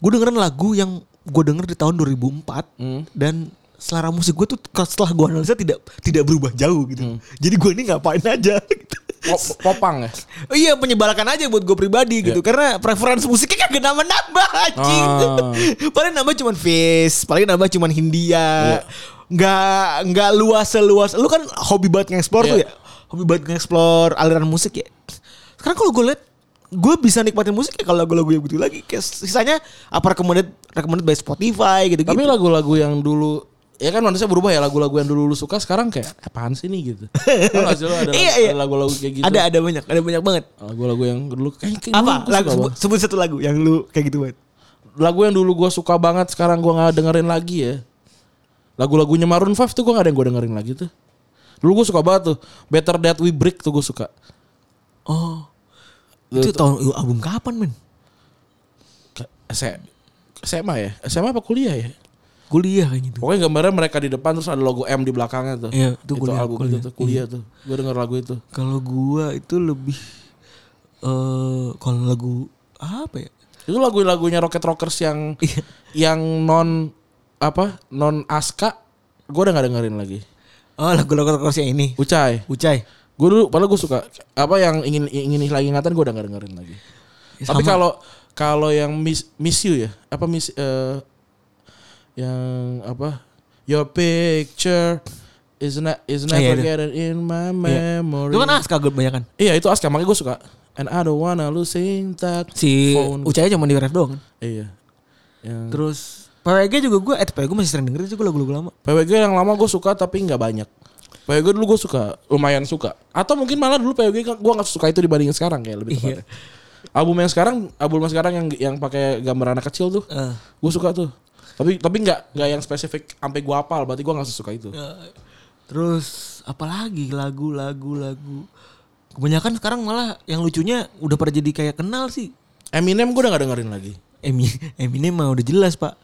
Speaker 3: gue dengerin lagu yang gue denger di tahun 2004 Dan selera musik gue tuh ke- setelah gue analisa tidak tidak berubah jauh gitu Jadi gue ini ngapain aja gitu
Speaker 2: Pop- popang ya
Speaker 3: Oh iya penyebalkan aja buat gue
Speaker 2: Iya.
Speaker 3: pribadi gitu Karena preferensi musiknya kagak nambah-nambah anjing
Speaker 2: Ah.
Speaker 3: Paling nambah cuman face Paling nambah cuman
Speaker 2: Iya.
Speaker 3: Hindia Nggak, nggak luas seluas Lu kan hobi banget nge-explore tuh
Speaker 2: Iya.
Speaker 3: ya Hobi banget nge-explore aliran musik ya Sekarang kalau gue liat Gue bisa nikmatin musik ya kalau lagu-lagu yang gitu lagi Kayak Sisanya apa recommended, recommended by Spotify gitu-gitu
Speaker 2: Tapi lagu-lagu yang dulu ya kan manusia berubah ya lagu-lagu yang dulu lu suka sekarang kayak apaan sih nih gitu. Tau gak sih lu ada
Speaker 3: Iya, iya.
Speaker 2: ada lagu-lagu kayak gitu.
Speaker 3: Ada, ada banyak, ada banyak banget
Speaker 2: lagu-lagu yang dulu kayak, kayak dulu gua
Speaker 3: Apa? Lagu,
Speaker 2: suka
Speaker 3: sebut,
Speaker 2: banget.
Speaker 3: sebut satu lagu yang lu kayak gitu banget
Speaker 2: lagu yang dulu gua suka banget sekarang gua nggak dengerin lagi ya. Lagu-lagunya Maroon 5 tuh gua gak ada yang gua dengerin lagi tuh. Dulu gua suka banget tuh Better That We Break tuh gua suka.
Speaker 3: Oh itu tahun album kapan men?
Speaker 2: SMA, SMA ya? SMA apa kuliah ya?
Speaker 3: Kuliah gitu. kayaknya tuh.
Speaker 2: Pokoknya gambarnya mereka di depan terus ada logo M di belakangnya tuh.
Speaker 3: Iya, itu kuliah,
Speaker 2: album itu
Speaker 3: kuliah. Iya.
Speaker 2: tuh kuliah tuh. Gua denger lagu itu.
Speaker 3: Kalau gua itu lebih eh kalau lagu apa ya?
Speaker 2: Itu lagu-lagunya Rocket Rockers yang
Speaker 3: Iya.
Speaker 2: yang non apa? Non Aska gue udah gak dengerin lagi.
Speaker 3: Oh lagu-lagu kursi yang ini.
Speaker 2: Ucai.
Speaker 3: Ucai.
Speaker 2: Gue dulu padahal gue suka apa yang ingin ingin lagi ingatan gue udah gak dengerin lagi. Tapi
Speaker 3: Ya, Sama.
Speaker 2: kalau kalau yang miss, miss you ya, apa miss eh, yang apa? Your picture is not is
Speaker 3: Ah, iya,
Speaker 2: never
Speaker 3: itu.
Speaker 2: getting in my
Speaker 3: Iya.
Speaker 2: memory.
Speaker 3: itu kan Aska gue banyak kan.
Speaker 2: Iya itu Aska makanya gue suka. And I don't wanna losing that
Speaker 3: Si
Speaker 2: phone.
Speaker 3: Ucai cuma di ref doang kan.
Speaker 2: Iya. Yang
Speaker 3: Terus PWG juga gue, eh PWG masih sering dengerin itu gue lagu-lagu lama.
Speaker 2: PWG yang lama gue suka tapi nggak banyak. PWG dulu gue suka, lumayan suka. Atau mungkin malah dulu PWG gue nggak suka itu dibandingin sekarang kayak lebih tepatnya.
Speaker 3: Iya.
Speaker 2: Album yang sekarang, album yang sekarang yang yang pakai gambar anak kecil tuh,
Speaker 3: Eh.
Speaker 2: gue suka tuh. Tapi tapi nggak nggak yang spesifik sampai gue hafal, berarti gue nggak suka itu.
Speaker 3: Eh. Terus apalagi lagu-lagu lagu. Kebanyakan sekarang malah yang lucunya udah pada jadi kayak kenal sih.
Speaker 2: Eminem gue udah nggak dengerin lagi.
Speaker 3: Emi- Eminem mah udah jelas pak.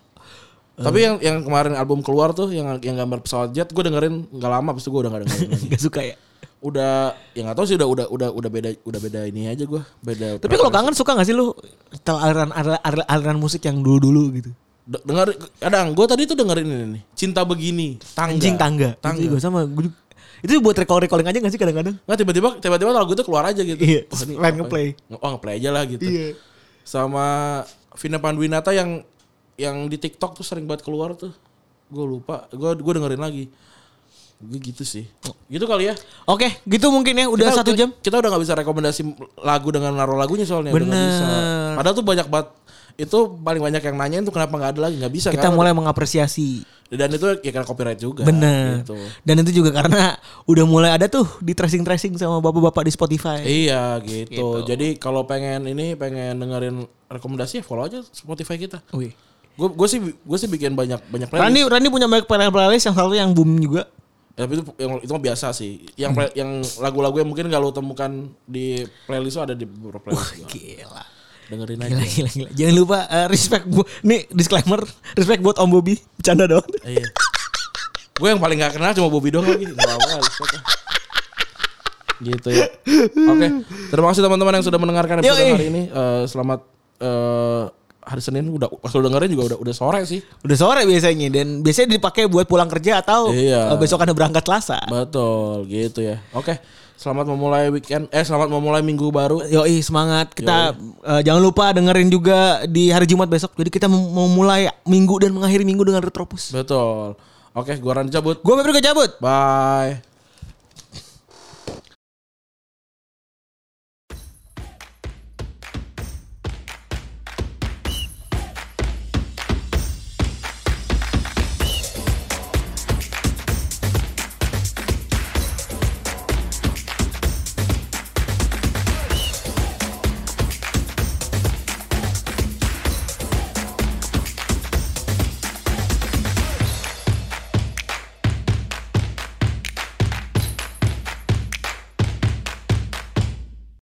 Speaker 3: Eh.
Speaker 2: Tapi yang yang kemarin album keluar tuh yang yang gambar pesawat jet gue dengerin nggak lama, abis itu gue udah nggak dengerin lagi.
Speaker 3: Gak suka ya.
Speaker 2: Udah ya nggak tahu sih udah udah udah udah beda udah beda ini aja gue beda.
Speaker 3: Tapi kalau kangen suka gak sih lu tel aliran aliran, aliran musik yang dulu-dulu gitu?
Speaker 2: D- Dengar, kadang gue tadi tuh dengerin ini nih, cinta begini, tangga.
Speaker 3: Anjing tangga.
Speaker 2: Tangga.
Speaker 3: Itu juga sama. Gua juga- Itu buat recall recalling aja gak sih kadang-kadang?
Speaker 2: Nggak tiba-tiba tiba-tiba lagu itu keluar aja gitu.
Speaker 3: Iya,
Speaker 2: Wah, ini
Speaker 3: main
Speaker 2: apa
Speaker 3: ngeplay. Iya.
Speaker 2: ya? Oh ngeplay aja lah gitu. Sama Vina Panduwinata yang yang di TikTok tuh sering banget keluar tuh. Gue lupa, gue gue dengerin lagi. Gue gitu sih. Gitu kali ya.
Speaker 3: Oke, gitu mungkin ya udah
Speaker 2: Kita-
Speaker 3: satu jam.
Speaker 2: Kita udah nggak bisa rekomendasi lagu dengan naruh lagunya soalnya. udah nggak
Speaker 3: Bener.
Speaker 2: bisa. Padahal tuh banyak banget. Itu paling banyak yang nanyain tuh kenapa nggak ada lagi nggak bisa.
Speaker 3: Kita
Speaker 2: karena-
Speaker 3: mulai mengapresiasi.
Speaker 2: dan itu ya karena copyright juga.
Speaker 3: Bener.
Speaker 2: Gitu.
Speaker 3: Dan itu juga karena udah mulai ada tuh di tracing-tracing sama bapak-bapak di Spotify.
Speaker 2: Iya gitu. Jadi kalau pengen ini pengen dengerin rekomendasi ya follow aja Spotify kita.
Speaker 3: Wih.
Speaker 2: Gue gue sih gue sih bikin banyak banyak playlist.
Speaker 3: Rani Rani punya banyak playlist yang satu yang boom juga.
Speaker 2: Ya, tapi itu yang itu mah biasa sih. Yang play- yang lagu-lagu yang mungkin gak lo temukan di playlist lo ada di beberapa playlist. juga.
Speaker 3: Gila.
Speaker 2: Dengerin aja.
Speaker 3: Gila, gila, gila. Jangan lupa eh, respect buat nih disclaimer, respect buat Om Bobby. Bercanda doang.
Speaker 2: Iya. gue yang paling gak kenal cuma Bobby doang lagi. Gak apa-apa. respect lah. gitu ya. Oke. Terima kasih teman-teman yang sudah mendengarkan episode
Speaker 3: Yoi.
Speaker 2: hari ini. Eh, selamat eh, hari Senin udah pas lu dengerin juga udah udah sore sih.
Speaker 3: Udah sore biasanya dan biasanya dipakai buat pulang kerja atau
Speaker 2: Iya.
Speaker 3: eh, besok ada berangkat Selasa.
Speaker 2: Betul, gitu ya. Oke. Selamat memulai weekend eh selamat memulai minggu baru.
Speaker 3: Yoi semangat kita eh, jangan lupa dengerin juga di hari Jumat besok. Jadi kita mem- memulai minggu dan mengakhiri minggu dengan retropus.
Speaker 2: Betul. Oke, gua Randy cabut.
Speaker 3: Gue Febri gue cabut.
Speaker 2: Bye.